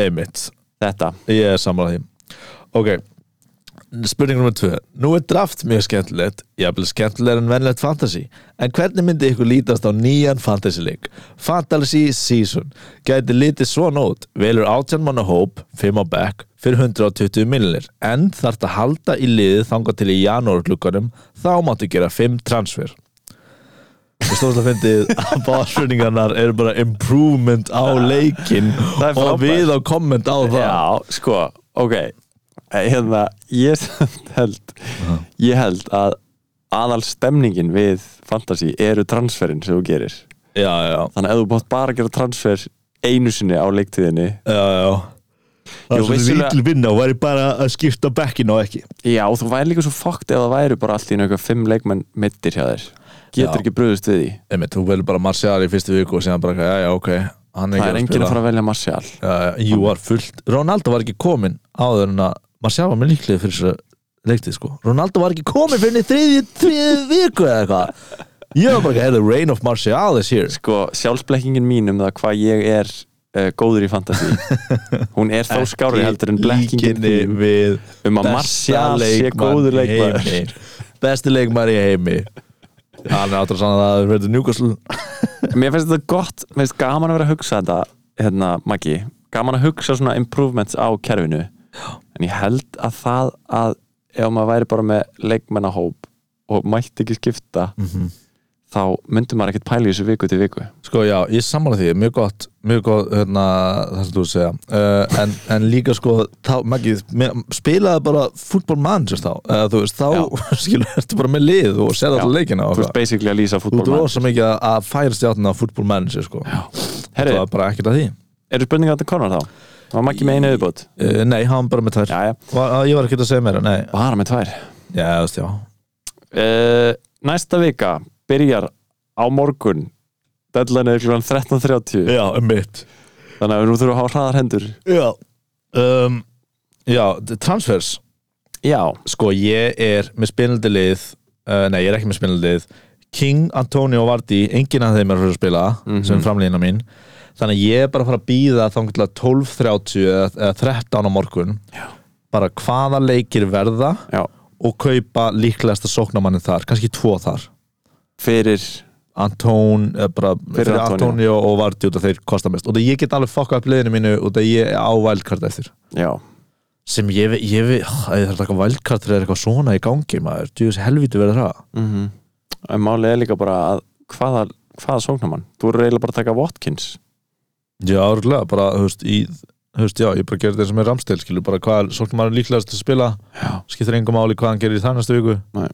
Speaker 4: Einmitt,
Speaker 3: þetta
Speaker 4: ég er sammála því Ok, spurning nummer 2 Nú er draft mjög skemmtilegt Jafnvel skemmtilegur en venlegt fantasy En hvernig myndi ykkur lítast á nýjan fantasy-leik? Fantasy season Gæti litið svona út Velur 18 manna hóp, 5 á back Fyrir 120 millinir En þarf að halda í liðið þangað til í janúarklukkanum Þá máttu gera 5 transfer og stóðslega fyndið að báðspurningarnar eru bara improvement á leikin
Speaker 3: Það er
Speaker 4: og
Speaker 3: frábært.
Speaker 4: við á komment á það
Speaker 3: Já, sko, ok hérna, ég samt held ég held að aðal stemningin við fantasy eru transferin sem þú gerir
Speaker 4: já, já,
Speaker 3: þannig að ef þú bótt bara að gera transfer einu sinni á leiktíðinni
Speaker 4: já, já.
Speaker 3: Jú,
Speaker 4: Það sem við
Speaker 3: vissulega-
Speaker 4: vill vinna væri bara að skipta bekkin og ekki
Speaker 3: já, þú væri líka svo fokkt ef það væri bara allt í einu eitthvað fimm leikmenn mittir hjá þér getur
Speaker 4: Já.
Speaker 3: ekki bröðust við því
Speaker 4: Einmitt, þú velur bara Marcial í fyrstu viku og síðan bara, já, já, ok hann
Speaker 3: það er enginn að fara að velja Martial
Speaker 4: uh, Jú, var fullt, Ronaldo var ekki komin áður en að Marcial var með líklið fyrir þessu leiktið, sko Ronaldo var ekki komin fyrir henni þriði, þriði viku eða eitthvað Ég var bara, hey, the reign of Marcial is here
Speaker 3: sko, sjálfsblekkingin mín um það hvað ég er uh, góður í fantasy hún er þá skári heldur en blekkingin
Speaker 4: Líkinni
Speaker 3: þín
Speaker 4: við
Speaker 3: um að
Speaker 4: besta
Speaker 3: Martial sé
Speaker 4: leikmann
Speaker 3: góður
Speaker 4: í
Speaker 3: leikmaður
Speaker 4: heimi. Besti leikmaður í heimi Hann er áttur að sanna það að verður Newcastle
Speaker 3: Mér finnst þetta gott, mér finnst gaman að vera að hugsa þetta hérna, Maggi, gaman að hugsa svona improvements á kerfinu en ég held að það að ef maður væri bara með leikmennahóp og mætti ekki skipta
Speaker 4: Mhm.
Speaker 3: þá myndi maður ekkert pæla í þessu viku til viku
Speaker 4: Sko já, ég sammála því, mjög gott mjög gott, hérna, það sem þú ert að segja uh, en, en líka sko, þá, Maggi mér- spilaðu bara fútbol mann þá, uh, þú veist, þá skilur, ertu bara með lið og sér alltaf
Speaker 3: Já,
Speaker 4: leikina og
Speaker 3: Þú veist
Speaker 4: eitthvað.
Speaker 3: basically að lýsa
Speaker 4: þú ert
Speaker 3: fútbolmann
Speaker 4: rosa mikið að- að færa stjátna á fútbol mann sko, það
Speaker 3: Herri,
Speaker 4: var bara ekkert að því
Speaker 3: eru spurningar að þetta konar þá? Var Maggi með einu viðbútt?
Speaker 4: uh, nei, hann bara með tvær
Speaker 3: Jæja,
Speaker 4: Var, ég var ekki að segja meira, nei
Speaker 3: bara með tvær
Speaker 4: já, þú veist, já,
Speaker 3: uh, Næsta vika byrjar á morgun Deadline er klukkan 13.30
Speaker 4: já, um mitt
Speaker 3: Þannig að nú þurfum að hafa hraðar hendur
Speaker 4: já, um, já, transfers
Speaker 3: Já,
Speaker 4: sko ég er með spilandi lið uh, nei ég er ekki með spilandi lið King, Antonio og Vardy, enginn af þeim er að fara að spila sem er framlýna mín þannig að ég er bara að fara að býða þannig til að 12.30 eða eða 13 á morgun Já. bara hvaða leikir verða
Speaker 3: já
Speaker 4: og kaupa líklegasta sóknamannin þar, kannski tvo þar
Speaker 3: fyrir
Speaker 4: Antón, eh, bara fyrir,
Speaker 3: Antonio.
Speaker 4: Antonio og Vardy út af þeir kosta mest og það ég get alveg fokka upp liðinu mínu og það ég er á vældkart eftir
Speaker 3: já,
Speaker 4: sem ég veit, ég veit, það er eitthvað vældkart þegar er eitthvað svona í gangi maður, djúðis helviti verður það
Speaker 3: mm en málið er líka bara að hvaða, hvaða sóknar mann þú eru eiginlega bara að taka Watkins
Speaker 4: Já, örgulega, bara, þú veist, í þú veist, já, ég bara gerði þetta sem er ramstil, skilur bara hvað, svolítið maður líklegast að spila
Speaker 3: já,
Speaker 4: skiptir engum máli hvað hann gerir í það næstu viku
Speaker 3: Nei.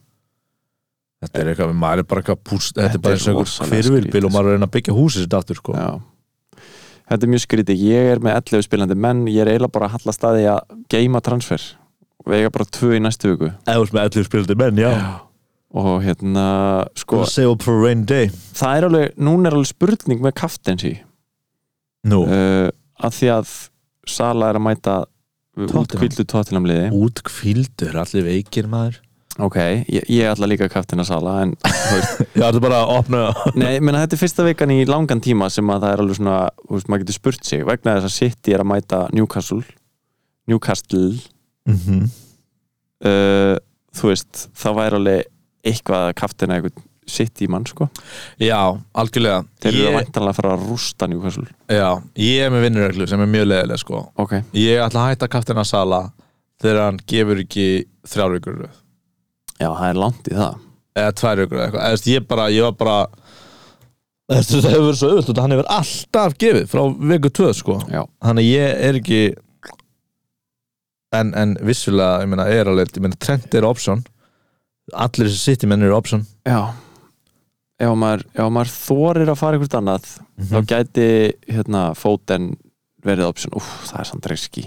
Speaker 4: Þetta er eitthvað, maður er bara eitthvað púst, þetta er bara
Speaker 3: er
Speaker 4: eins og einhver
Speaker 3: rosalega
Speaker 4: hvirvilbil
Speaker 3: skrítið,
Speaker 4: og maður er að reyna að byggja húsið sitt aftur, sko
Speaker 3: já þetta er mjög skrítið, ég er með 11 spilandi menn ég er eiginlega bara að halla staði að geima transfer við eiga bara tvö í næstu viku
Speaker 4: Eða þú veist með 11 spilandi menn, já
Speaker 3: og hérna, sko,
Speaker 4: Gonna save up for a rainy day
Speaker 3: það er alveg núna er alveg spurning með kaftensi
Speaker 4: Nú,
Speaker 3: uh, að því að Sala er að mæta
Speaker 4: Tottenham.
Speaker 3: útkvildu tóttinamliði
Speaker 4: út kvildur, allir veikir maður
Speaker 3: ok, ég, ég ætla líka kaftina Sala en
Speaker 4: Já, þetta er bara að opna
Speaker 3: Nei, menna þetta er fyrsta vikan í langan tíma sem að það er alveg svona, þú veist, maður getur spurt sig vegna þess að City er að mæta Newcastle Newcastle
Speaker 4: Mhm.
Speaker 3: uh, þú veist, það væri alveg eitthvað að kaftina eitthvað City mann, sko
Speaker 4: Já, algjörlega
Speaker 3: þeir eru að
Speaker 4: ég,
Speaker 3: væntanlega að fara að rústa Newcastle
Speaker 4: já, ég er með vinnurreglu sem er mjög leðilega, sko
Speaker 3: Ok,
Speaker 4: Ég ætla að hætta kaftina Sala þegar hann gefur ekki þrjár vikur í röð.
Speaker 3: já, það er langt í það
Speaker 4: eða tvær vikur eða eitthvað Eða, þú veist, ég bara, ég var bara Þú veist, þetta hefur verið svo auðvitað hann hefur alltaf gefið frá viku tvöð sko
Speaker 3: Já,
Speaker 4: þannig að ég er ekki en, en vissulega ég meina er alveg, ég meina trend er option allir þessi sitt í menn eru option
Speaker 3: já Ef maður, ef maður þorir að fara eitthvað annað Mhm. þá gæti, hérna, Foden verið option, úf, það er samt reyski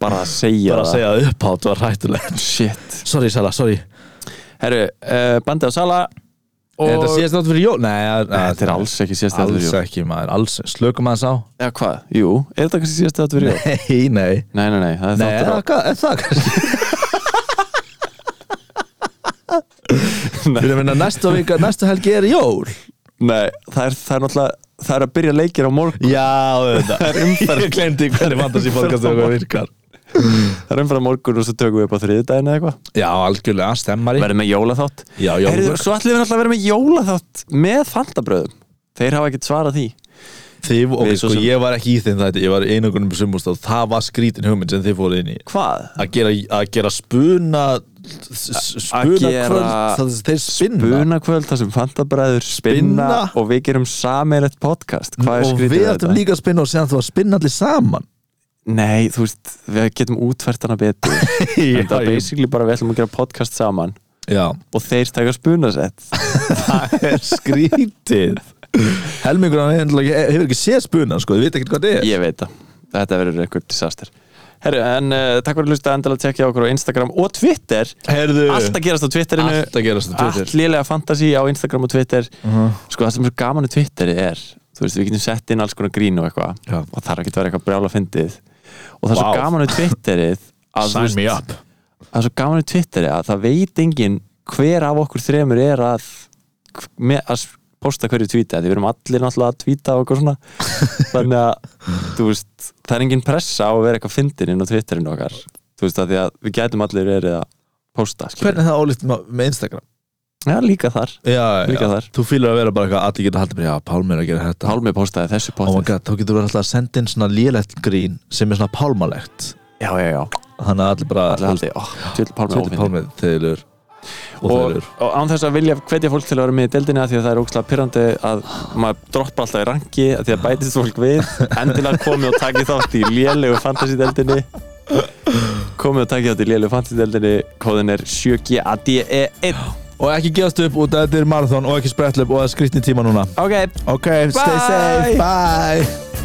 Speaker 3: bara að segja
Speaker 4: bara að segja það upphátt var hættulegt
Speaker 3: það shit
Speaker 4: sorry Sala, sorry
Speaker 3: herru, uh, bandið á Sala og
Speaker 4: er þetta síðast nátt fyrir jól? nei, það-
Speaker 3: Nei, þetta er alls ekki síðast
Speaker 4: alls
Speaker 3: aðverjó
Speaker 4: ekki maður, alls, slökum aðeins á
Speaker 3: eða hvað, jú, er þetta kannski síðast aðverjó nei,
Speaker 4: nei, nei
Speaker 3: nei, nei, það er
Speaker 4: Nei,
Speaker 3: þáttur á
Speaker 4: er það, er það kannski Við erum minna næsta vika, næsta helgi er jól
Speaker 3: nei, það er, það er náttúrulega það er að byrja leikir á morgun
Speaker 4: Já, auðvitað Ég glemdi hvernig fantasy podcast okkar virkar
Speaker 3: það er umfram morgun og svo tökum við upp á þriðdæðin eða eitthvað
Speaker 4: Já, algjörlega, stemmari
Speaker 3: verðum með jólaþátt
Speaker 4: Já, jólaþátt.
Speaker 3: Heyrðu, svo ætlum við náttúrulega að vera með jólaþátt með fantabröðum þeir hafa ekkert svarað því
Speaker 4: Þið, ok,
Speaker 3: Við svo
Speaker 4: sko,
Speaker 3: sem-
Speaker 4: ég var ekki í þeim þetta Ég var í einogunum sumúst og það var skrítin hugmynd sem þið fóruð inn í
Speaker 3: hvað?
Speaker 4: Að gera, að gera spuna Spuna
Speaker 3: gera
Speaker 4: kvöld Það er þeir spinna
Speaker 3: Bunakvöld þar sem fantabræður spinna,
Speaker 4: Spinna?
Speaker 3: og við gerum sameilett podcast hvað er
Speaker 4: Og
Speaker 3: skrítið
Speaker 4: við
Speaker 3: við
Speaker 4: ættum
Speaker 3: þetta?
Speaker 4: líka að spinna og segja að þú að spinna allir saman
Speaker 3: Nei, þú veist, við getum útfært hana betur en það er
Speaker 4: Já,
Speaker 3: basically bara við ætlum að gera podcast saman
Speaker 4: Já,
Speaker 3: og þeir taka spunasett
Speaker 4: það er skrítið Helmingur hann hefur ekki- hefur ekki séð spuna sko, þið veit ekki hvað þetta er
Speaker 3: ég veit það, þetta verður eitthvað disaster Herru, en uh, takk fyrir að hlusta endilega að tekja okkur á Instagram og Twitter
Speaker 4: Herðu,
Speaker 3: Allt að gerast á Twitterinu
Speaker 4: Allt að gerast á Twitter. Uh-huh.
Speaker 3: Allt lélega fantasy á Instagram og Twitter Sko það sem er svo gaman á Twitteri er Þú veist við getum sett inn alls konar grín og eitthvað
Speaker 4: Já.
Speaker 3: Og það er ekki að vera eitthvað brjála fyndið Og það er svo
Speaker 4: Vá.
Speaker 3: gaman á Twitterið að, þú
Speaker 4: sign
Speaker 3: veist,
Speaker 4: me up
Speaker 3: Það er svo gaman á Twitteri að það veit engin Hver af okkur þremur er að með, Að posta hverju tvíta Því við erum allir náttúrulega að tvíta og eitthvað svona Þannig að þú veist Það er engin pressa á að vera eitthvað fyndin inn á Twitterinu okkar Þú veist að því að við gætum allir verið að posta skilurðu.
Speaker 4: Hvernig er það ólíkt með með Instagram?
Speaker 3: Já, líka þar
Speaker 4: Já,
Speaker 3: Líka þar.
Speaker 4: Þú fýlar að vera bara eitthvað allir geta haldið bara, Já, Pálmi er að gera þetta
Speaker 3: Pálmi postaði þessu
Speaker 4: Oh my
Speaker 3: postið
Speaker 4: god, þá getur verið alltaf að senda inn svona lélegt grín sem er svona pálmalegt
Speaker 3: Já, já, já
Speaker 4: Þannig að allir bara
Speaker 3: Allir haldi, ó, tjöld Pálmi
Speaker 4: Tjóti
Speaker 3: ófinn
Speaker 4: Pálmi þegar og
Speaker 3: og,
Speaker 4: þegar
Speaker 3: og án þess að vilja hvetja fólk til að vera með í deildinni af því að það er ógslag pyrrandi að maður droppar alltaf í ranki af því að bætist fólk við endilega komið og takið þátt í lélegu fantasy deildinni komið og takið þátt í lélegu fantasy deildinni kóðin er 7GADE1
Speaker 4: Og ekki gefast upp út að þetta er marathon og ekki spretlup og það er skrýtni tíma núna
Speaker 3: Ok,
Speaker 4: Ok, stay
Speaker 3: Bye.
Speaker 4: safe, bye